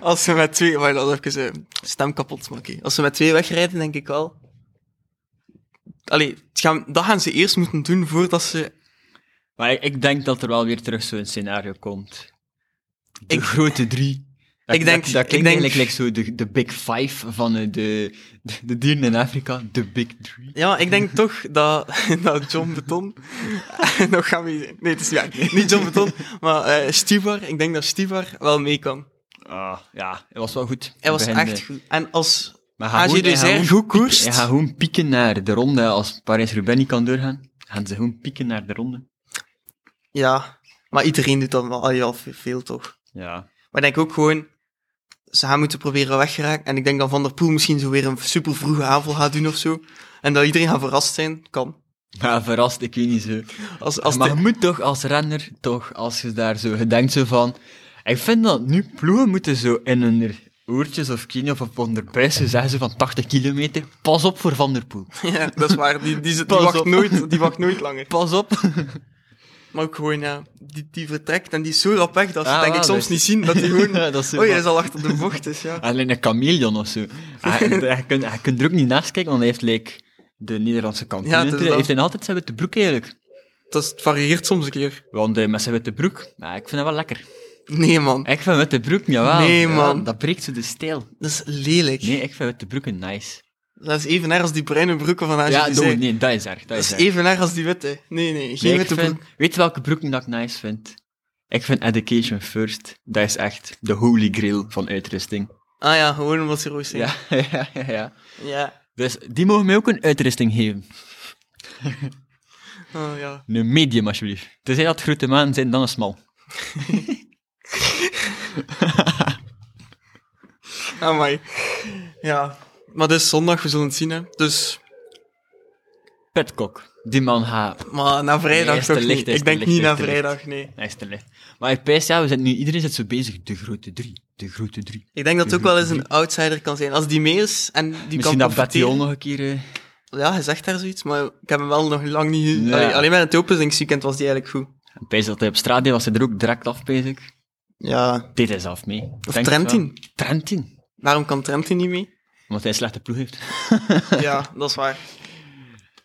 S1: als ze met twee... Wacht, dat even eh, stem kapot maken. Als ze met twee wegrijden, denk ik wel... Allee, het gaan, dat gaan ze eerst moeten doen voordat ze...
S2: Maar ik, ik denk dat er wel weer terug zo'n scenario komt. De
S1: Ik-
S2: grote drie. Dat,
S1: Ik denk-
S2: dat, dat
S1: ik
S2: klinkt
S1: denk-
S2: eigenlijk like zo de, de big five van eh, de, de, de dieren in Afrika. De big three.
S1: Ja, ik denk toch dat, [laughs] dat John Beton... [laughs] nog gaan we... Nee, het is niet waar. Niet John Beton, maar eh Stibar. Ik denk dat Stibar wel mee kan.
S2: Ah, ja, het was wel goed.
S1: Hij was
S2: Begin, eh,
S1: echt goed. En als...
S2: Maar ga
S1: Als je
S2: gewoon-
S1: dus
S2: ga
S1: erg
S2: gewoon
S1: goed koerst...
S2: pieken- Je gaat gewoon pieken naar de ronde. Als Parijs-Roubaix niet kan doorgaan, gaan ze gewoon pieken naar de ronde.
S1: Ja, maar iedereen doet dat wel al veel toch.
S2: Ja.
S1: Maar ik denk ook gewoon, ze gaan moeten proberen weggeraken. En ik denk dat Van der Poel misschien zo weer een super vroege aanval gaat doen of zo. En dat iedereen gaat verrast zijn, kan.
S2: Maar verrast, ik weet niet zo.
S1: Als, als
S2: maar
S1: de-
S2: je moet toch als renner, toch, als je daar zo gedenkt zo van... Ik vind dat nu ploegen moeten zo in hun oortjes of knie of op hun buizen zeggen ze van 80 kilometer, pas op voor Van der Poel.
S1: [laughs] ja, dat is waar, die, die, zit- die
S2: Pas
S1: wacht
S2: op.
S1: nooit, die wacht nooit langer.
S2: Pas op.
S1: Maar ook gewoon, ja, die, die vertrekt en die is zo rap weg dat ze
S2: Ah,
S1: denk ik
S2: wel,
S1: soms
S2: dat-
S1: niet zien dat hij gewoon...
S2: [laughs] Ja, dat is zo
S1: oh, hij
S2: van-
S1: is al achter de bocht, dus ja.
S2: Alleen een chameleon of zo.
S1: [laughs]
S2: Hij, hij, kunt, hij kunt er ook niet naast kijken, want hij heeft like, de Nederlandse kampioen.
S1: Ja, het
S2: in
S1: is
S2: het-
S1: dat.
S2: heeft hij altijd zijn witte broek eigenlijk.
S1: Dat is- het varieert soms een keer.
S2: Want eh, met zijn witte broek, maar ik vind dat wel lekker.
S1: Nee, man.
S2: Ik vind witte broek, jawel.
S1: Nee,
S2: Ja,
S1: man.
S2: dat breekt zo de stijl.
S1: Dat is lelijk.
S2: Nee, ik vind witte broeken nice.
S1: Dat is even erg als die bruine broeken van Angelique.
S2: ja,
S1: Ja,
S2: doe- nee, dat is erg. Dat
S1: Dat
S2: is
S1: is
S2: erg.
S1: even erg als die witte. Nee, nee, geen
S2: Nee, ik
S1: witte
S2: vind-
S1: broek.
S2: Weet je welke broeken dat ik nice vind? Ik vind Education First. Dat is echt de holy grail van uitrusting.
S1: Ah ja, gewoon omdat ze roos zijn.
S2: Ja, [laughs] ja, ja, ja.
S1: Ja.
S2: Dus die mogen mij ook een uitrusting geven.
S1: Oh, ja.
S2: Een medium, alsjeblieft. Tenzij dat grote maan zijn, dan een smal.
S1: Amai. Ja. Maar dus zondag, we zullen het zien, hè. Dus,
S2: Petkok. Die man gaat...
S1: maar na vrijdag
S2: Nee, is te
S1: toch
S2: licht,
S1: niet.
S2: is
S1: Ik
S2: te
S1: denk
S2: licht,
S1: niet
S2: is
S1: na
S2: te
S1: vrijdag, nee.
S2: Hij is te licht. Maar ik pijs, ja, we zijn nu... Iedereen zit zo bezig. De grote drie. De grote drie.
S1: Ik denk dat het ook wel eens
S2: [laughs]
S1: een outsider kan zijn. Als die mee is en die
S2: Misschien
S1: kan
S2: dat Batillon
S1: profiteren.
S2: nog een keer... eh,
S1: Ja, hij zegt daar zoiets, maar ik heb hem wel nog lang niet...
S2: Ja.
S1: Allee, alleen met het openingsweekend was die eigenlijk goed.
S2: Ik pijs dat hij op straat deed, was hij er ook direct af bezig.
S1: Ja.
S2: Dit is af mee.
S1: Of
S2: Denk het
S1: Trentin.
S2: wel. Trentin.
S1: Waarom kan Trentin niet
S2: [laughs]
S1: mee?
S2: Omdat hij een slechte ploeg heeft.
S1: ja, dat is waar.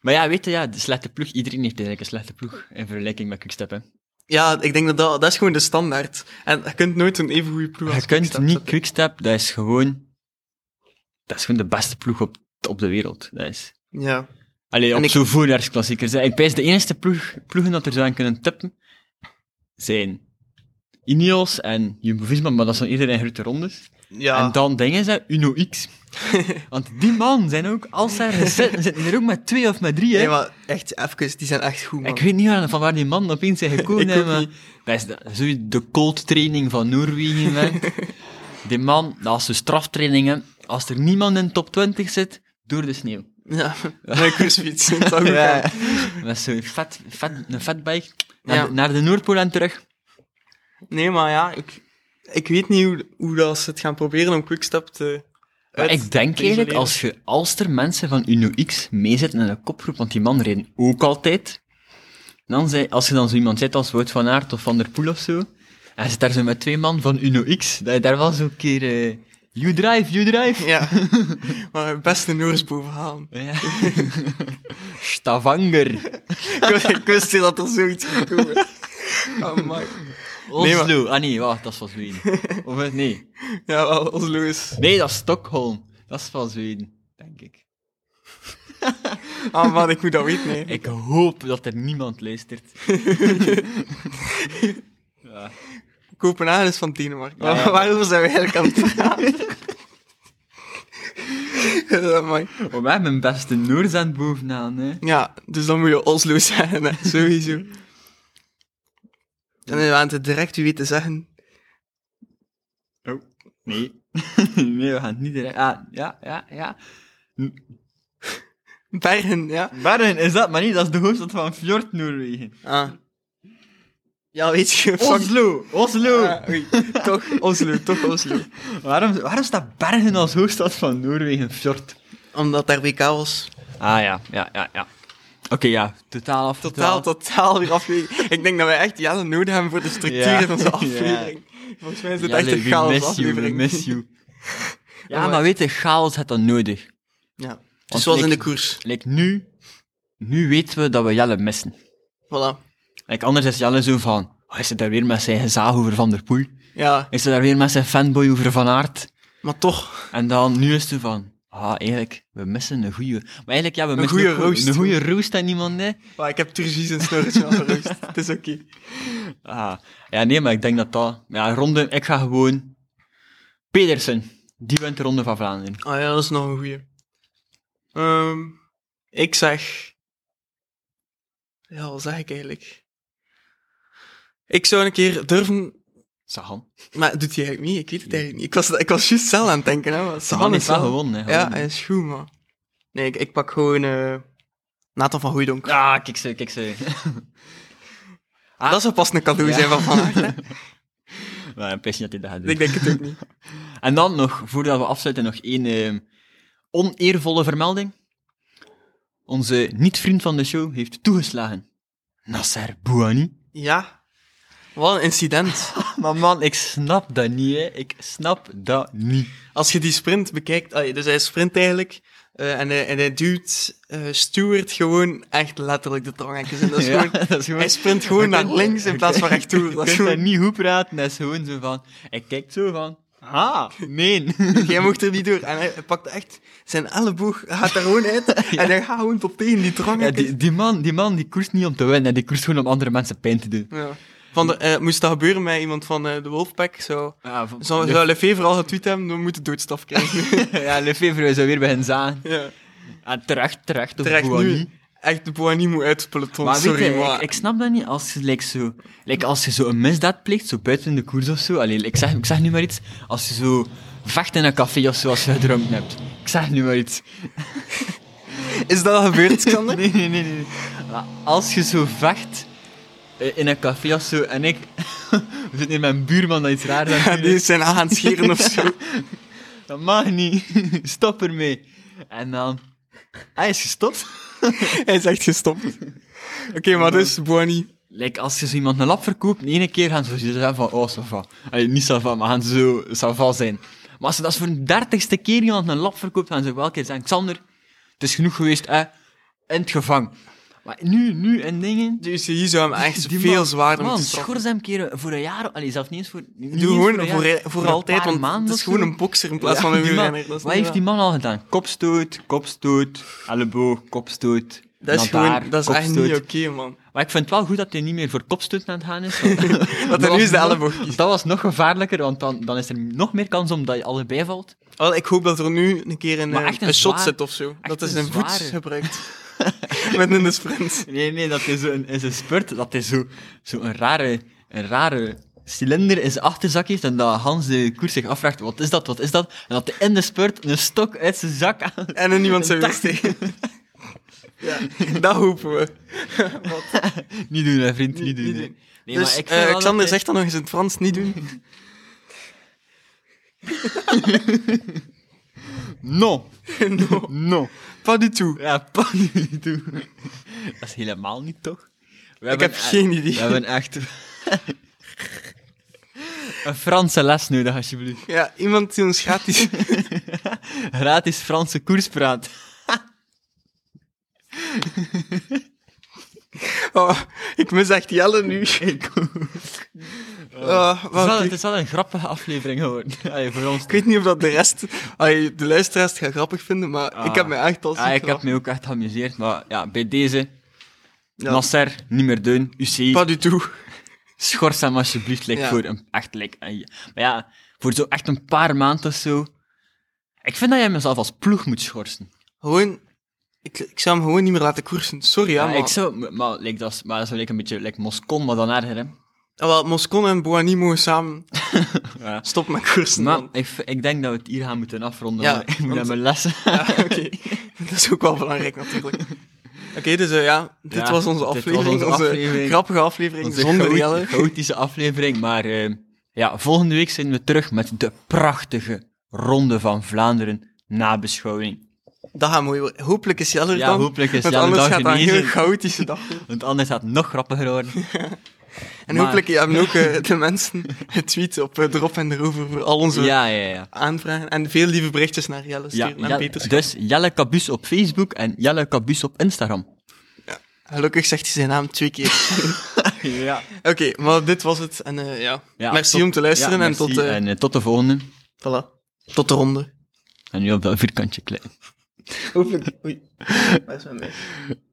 S2: Maar ja, weet je, ja, de slechte ploeg, iedereen heeft eigenlijk een slechte ploeg in vergelijking met Quickstep. Hè.
S1: Ja, ik denk dat dat... Dat is gewoon de standaard. En je kunt nooit een even goede ploeg
S2: Je
S1: als
S2: kunt
S1: Quickstep
S2: niet
S1: zetten.
S2: Quickstep, dat is gewoon... Dat is gewoon de beste ploeg op, op de wereld. Dat is...
S1: Ja.
S2: Allee,
S1: En
S2: op
S1: ik-
S2: zo'n voorjaarsklassiekers. hè. Ik pijs de enige ploeg, ploegen dat er zo aan kunnen tippen, zijn Ineos en Jumbo-Visma, maar dat zijn iedereen grote rondes.
S1: Ja.
S2: En dan dingen ze Uno
S1: [laughs]
S2: X. Want die man zijn ook, als ze ergens zitten, zitten er ook met twee of met drie. Hè.
S1: Nee, maar echt, even, die zijn echt goed, man.
S2: Ik weet niet waar- van waar die man
S1: [laughs]
S2: opeens zijn gekomen.
S1: Ik
S2: hè,
S1: ook
S2: maar
S1: niet.
S2: Dat is de, zo de cold training van
S1: [laughs]
S2: Noorwegen. man. die man, dat is de straftraining. hè. Als er niemand in de top 20 zit, Door de sneeuw.
S1: [laughs] Ja, een [laughs] cruisefiets. Het zou goed
S2: Ja.
S1: gaan.
S2: Met zo'n vet, vet, een fatbike naar,
S1: Ja.
S2: de- naar de Noordpool en terug.
S1: Nee, maar ja, ik, ik weet niet hoe, hoe dat ze het gaan proberen om Quickstep te...
S2: Maar
S1: uit-
S2: ik denk
S1: te
S2: eigenlijk,
S1: isoleren.
S2: als, je, als er mensen van Uno X meezitten in een kopgroep, want die mannen reden ook altijd, dan zei, als je dan zo iemand zit als Wout van Aert of Van der Poel of zo, en je zit daar zo met twee man van Uno X, dat je daar wel zo'n keer... eh, you drive, you drive!
S1: Ja, [laughs] maar het beste Noors bovenhalen.
S2: Ja. Stavanger,
S1: [laughs] ik, wist- ik wist niet dat er zoiets ging komen. [laughs] Amai. Nee, maar-
S2: Oslo... Ah nee, wacht, dat is van Zweden. Of eh, nee.
S1: Ja, wel, als Louis.
S2: Nee, dat is Stockholm. Dat is van Zweden, denk ik.
S1: Ah man, ik moet dat weten, hè.
S2: Ik hoop dat er niemand luistert. ja.
S1: Kopenhagen is van Denemarken.
S2: Ja, ja.
S1: Waarover zijn we eigenlijk aan het [laughs] praten? Amai.
S2: [laughs] Oh, wij hebben beste Noors aan het bovenaan, hè.
S1: ja, dus dan moet je Oslo zeggen, hè, sowieso. En we gaan het direct u weten zeggen.
S2: Oh, nee. [laughs] nee, we gaan het niet direct... Ah, ja, ja, ja.
S1: Bergen, ja.
S2: Bergen is dat, maar niet, dat is de hoofdstad van Fjord Noorwegen.
S1: Ah. Ja, weet je, fuck.
S2: Oslo, Oslo.
S1: Ah, oei. [laughs] toch Oslo, toch Oslo.
S2: Waarom, waarom staat Bergen als hoofdstad van Noorwegen, Fjord?
S1: Omdat daar WK was.
S2: Ah, ja, ja, ja, ja. Oké, ja, totaal af.
S1: Totaal, totaal weer afweging. [laughs] Ik denk dat wij echt Jelle nodig hebben voor de structuur
S2: Ja.
S1: van [laughs] onze
S2: Ja.
S1: aflevering. Volgens mij is dit
S2: Ja,
S1: echt een
S2: we
S1: chaos
S2: miss you, we
S1: aflevering.
S2: miss [laughs] you.
S1: Oh,
S2: Ja,
S1: maar-
S2: maar weet je, chaos had dat nodig.
S1: Ja. Dus
S2: Want
S1: zoals in
S2: ik-
S1: de koers.
S2: Like, nu, nu weten we dat we Jelle missen.
S1: Voilà.
S2: Like, anders is Jelle zo van, oh, is hij daar weer met zijn gezaag over Van der Poel?
S1: Ja,
S2: Is hij daar weer met zijn fanboy over Van Aert?
S1: maar toch.
S2: En dan, nu is het zo van, ah, eigenlijk, we missen een goeie... Maar eigenlijk, ja, we missen
S1: goeie
S2: ook
S1: roost.
S2: Een goeie roost aan iemand, hè.
S1: Maar ik heb turgies en [laughs] snorretje al gerust. Het is oké.
S2: Ah, ja, nee, maar ik denk dat dat... Ja, ronde, ik ga gewoon... Pedersen, die wint de Ronde van Vlaanderen.
S1: Ah ja, dat is nog een goeie. Ehm, ik zeg... Ja, wat zeg ik eigenlijk? Ik zou een keer durven...
S2: Sagan.
S1: Maar dat doet hij eigenlijk niet, ik weet het eigenlijk niet. Ik was, ik was juist zelf aan het denken, hè. maar Sagan
S2: Sagan
S1: is
S2: heeft wel
S1: wel-
S2: gewonnen, hè.
S1: Ja,
S2: gewonnen.
S1: hij is goed, man. Nee, ik, ik pak gewoon eh Nathan van Goeidonk.
S2: Ah, kijk ze, [laughs] kijk ze. Ah.
S1: Dat zou pas een cadeau
S2: Ja.
S1: zijn van Van Aert, [laughs] hè.
S2: Maar een pestje dat hij dat gaat doen.
S1: Ik denk het ook niet.
S2: En dan nog, voordat we afsluiten, nog één ehm, oneervolle vermelding. Onze niet-vriend van de show heeft toegeslagen. Nasser Bouani.
S1: Ja. Wat een incident.
S2: Maar man, ik snap dat niet, hè. Ik snap dat niet.
S1: Als je die sprint bekijkt, allee, dus hij sprint eigenlijk eh, en, hij, en hij duwt eh, Stewart gewoon echt letterlijk de tongekjes in. Dat is
S2: Ja,
S1: gewoon,
S2: [laughs] dat is gewoon-
S1: hij sprint gewoon
S2: Je
S1: naar
S2: kunt-
S1: links in plaats van rechttoe.
S2: [laughs] Je
S1: Dat is
S2: kunt dat
S1: gewoon,
S2: niet goed praten, dat is gewoon zo van... Hij kijkt zo van... Ah, nee. [laughs]
S1: jij mocht er niet door. En hij, hij pakt echt zijn elleboog, gaat er gewoon
S2: [laughs]
S1: uit en hij gaat gewoon tot tegen die
S2: Ja,
S1: tongekjes.
S2: die, die, man, die man, die koerst niet om te winnen, die koerst gewoon om andere mensen pijn te doen.
S1: Ja. Van de, eh, moest dat gebeuren met iemand van eh, de Wolfpack, zo...
S2: Ja,
S1: Zou, zou Lefevre al getweet hebben, dan moet de doodstraf
S2: [laughs]
S1: krijgen.
S2: ja Lefevre zou weer bij hen zagen.
S1: ja.
S2: Ah, terecht, terecht. Of
S1: Terecht
S2: Bouani.
S1: nu. Echt, de Boani moet uit het peloton,
S2: Oh, Maar
S1: sorry,
S2: weet je,
S1: maar...
S2: ik, ik snap dat niet als je, like, zo, like, als je zo een misdaad pleegt, zo buiten de koers of zo. Allee, ik, zeg, ik zeg nu maar iets. Als je zo vecht in een café of zo, als je gedronken hebt. Ik zeg nu maar iets.
S1: Is dat al gebeurd, Xander?
S2: Nee, nee, nee. nee. Maar als je zo vecht eh, in een café of zo, en ik... [laughs] We zitten hier met mijn buurman dat iets raars aan
S1: Ja,
S2: het doen
S1: die
S2: is.
S1: zijn aan het scheren of zo.
S2: Dat mag niet. [laughs] Stop ermee. En dan... Hij is gestopt.
S1: [laughs] Hij is echt gestopt. Oké, maar dus, Boani.
S2: Like, als je zo iemand een lap verkoopt, de ene keer gaan ze zo zeggen van, oh, ça va. Allee, niet ça va, maar gaan ze zo ça va zijn. Maar als ze dat voor een dertigste keer iemand een lap verkoopt, gaan ze wel een keer zeggen, Xander, het is genoeg geweest, hè, in het gevang. Maar nu, nu, en dingen...
S1: De UCI zou hem echt
S2: [laughs] die
S1: veel
S2: man-
S1: zwaarder
S2: Man,
S1: moeten straffen.
S2: schors hem keren voor een jaar, allee, zelfs niet eens voor... niet eens
S1: Doe
S2: voor,
S1: gewoon
S2: een
S1: voor, e-
S2: jaar,
S1: voor,
S2: een
S1: altijd,
S2: paar
S1: want het
S2: maanden
S1: is
S2: of zo.
S1: gewoon een bokser in plaats
S2: Ja,
S1: van een
S2: die man-
S1: wielrenner. Dat is
S2: Wat
S1: niet
S2: heeft die
S1: waar.
S2: man al gedaan? Kopstoot, kopstoot, elleboog, kopstoot.
S1: Dat is,
S2: naar daar,
S1: gewoon, dat is echt niet
S2: kopstoot.
S1: oké, man.
S2: Maar ik vind het wel goed dat hij niet meer voor kopstoot aan het gaan is. [laughs] want-
S1: Dat hij
S2: was
S1: nu is de
S2: nog-
S1: elleboog kiest.
S2: Dat was nog gevaarlijker, want dan, dan is er nog meer kans om dat je allebei valt.
S1: Wel, ik hoop dat er nu een keer een,
S2: Maar
S1: eh,
S2: echt een
S1: een shot
S2: zwaar-
S1: zit of zo. Dat is
S2: een
S1: een voet
S2: zware. [laughs]
S1: gebruikt. Met een sprint.
S2: Nee, nee, dat is een, is een spurt. Dat is zo'n zo zo'n rare, een rare cilinder in zijn achterzak heeft en dat Hans de koers zich afvraagt, wat is dat, wat is dat? En dat hij in de spurt een stok uit zijn zak aan... [laughs]
S1: En er niemand zijn
S2: Dat-
S1: wees tegen.
S2: [laughs]
S1: Ja, [laughs] dat hopen we.
S2: Niet doen, hè, vriend, niet
S1: Niet-
S2: doen.
S1: niet
S2: hè.
S1: doen.
S2: Nee,
S1: dus
S2: maar ik
S1: eh,
S2: vind wel dat
S1: Xander
S2: hij-
S1: zegt dat nog eens in het Frans, niet doen.
S2: No,
S1: no,
S2: [laughs] no.
S1: pas du tout.
S2: Ja, pas niet doen. Dat is helemaal niet, toch? We
S1: Ik heb geen idee.
S2: We hebben echt... [laughs] een Franse les nodig, alsjeblieft.
S1: Ja, iemand die ons
S2: [laughs]
S1: gratis...
S2: Gratis Franse koerspraat.
S1: Oh, ik mis echt Jelle nu. [laughs] Oh,
S2: Het is, wel,
S1: wacht,
S2: het
S1: ik,
S2: is wel een grappige aflevering geworden. [laughs] Allee, voor ons.
S1: ik weet niet of dat de rest... Allee, de luisteraars het gaan grappig vinden, maar
S2: Ah.
S1: ik heb me echt al
S2: Ah, ik heb me ook echt geamuseerd, maar ja, bij deze,
S1: Ja.
S2: Nasser, niet meer doen, UCI,
S1: Pas du tout.
S2: schors hem alsjeblieft, like,
S1: Ja.
S2: voor een, echt, like, een- maar ja, voor zo echt een paar maanden of zo. Ik vind dat jij mezelf als ploeg moet schorsen.
S1: Gewoon... Ik, ik zou hem gewoon niet meer laten koersen. Sorry, ja,
S2: Ja,
S1: maar...
S2: ik zou, maar, like, dat is, maar dat is wel, like, een beetje like Moscon, maar dan erger, hè.
S1: Ah, wel, Moscon en Boani mogen samen...
S2: [laughs] Ja.
S1: Stop met koersen,
S2: Maar
S1: man.
S2: ik, v- ik denk dat we het hier gaan moeten afronden.
S1: Ja,
S2: maar ik moet
S1: want-
S2: naar mijn
S1: [laughs]
S2: lessen.
S1: Ja, oké. Dat is ook wel belangrijk, natuurlijk.
S2: [laughs]
S1: Oké, dus eh, ja, dit
S2: Ja,
S1: was onze
S2: dit was
S1: aflevering.
S2: onze
S1: onze
S2: aflevering.
S1: grappige aflevering
S2: Onze
S1: zonder
S2: chao-
S1: Jelle.
S2: chaotische aflevering. Maar eh, ja, volgende week zijn we terug met de prachtige Ronde van Vlaanderen nabeschouwing.
S1: Dat gaat mooi worden. Hopelijk is Jelle er
S2: Ja,
S1: dan.
S2: hopelijk is
S1: want
S2: Jelle
S1: anders
S2: dan
S1: gaat dat een heel
S2: genezen.
S1: chaotische dag worden.
S2: Want anders gaat het nog grappiger
S1: [laughs]
S2: worden.
S1: En
S2: Maar-
S1: hopelijk hebben ook eh, de mensen getweet op eh, Drop en Erover voor al onze
S2: ja, ja, ja.
S1: aanvragen. En veel lieve berichtjes naar Jelle
S2: ja
S1: sturen en
S2: Jelle-
S1: Peters.
S2: dus Jelle Cabus op Facebook en Jelle Cabus
S1: [laughs]
S2: op Instagram.
S1: Gelukkig zegt hij zijn naam twee
S2: [laughs]
S1: keer.
S2: Ja.
S1: Oké, maar dit was het. En eh, ja.
S2: Ja,
S1: merci
S2: tot-
S1: om te luisteren
S2: ja,
S1: en
S2: merci.
S1: tot, eh,
S2: en eh, tot de volgende.
S1: voilà. tot de ronde.
S2: En nu op dat vierkantje klein.
S1: Hopelijk. Oei. Waar is mijn mes?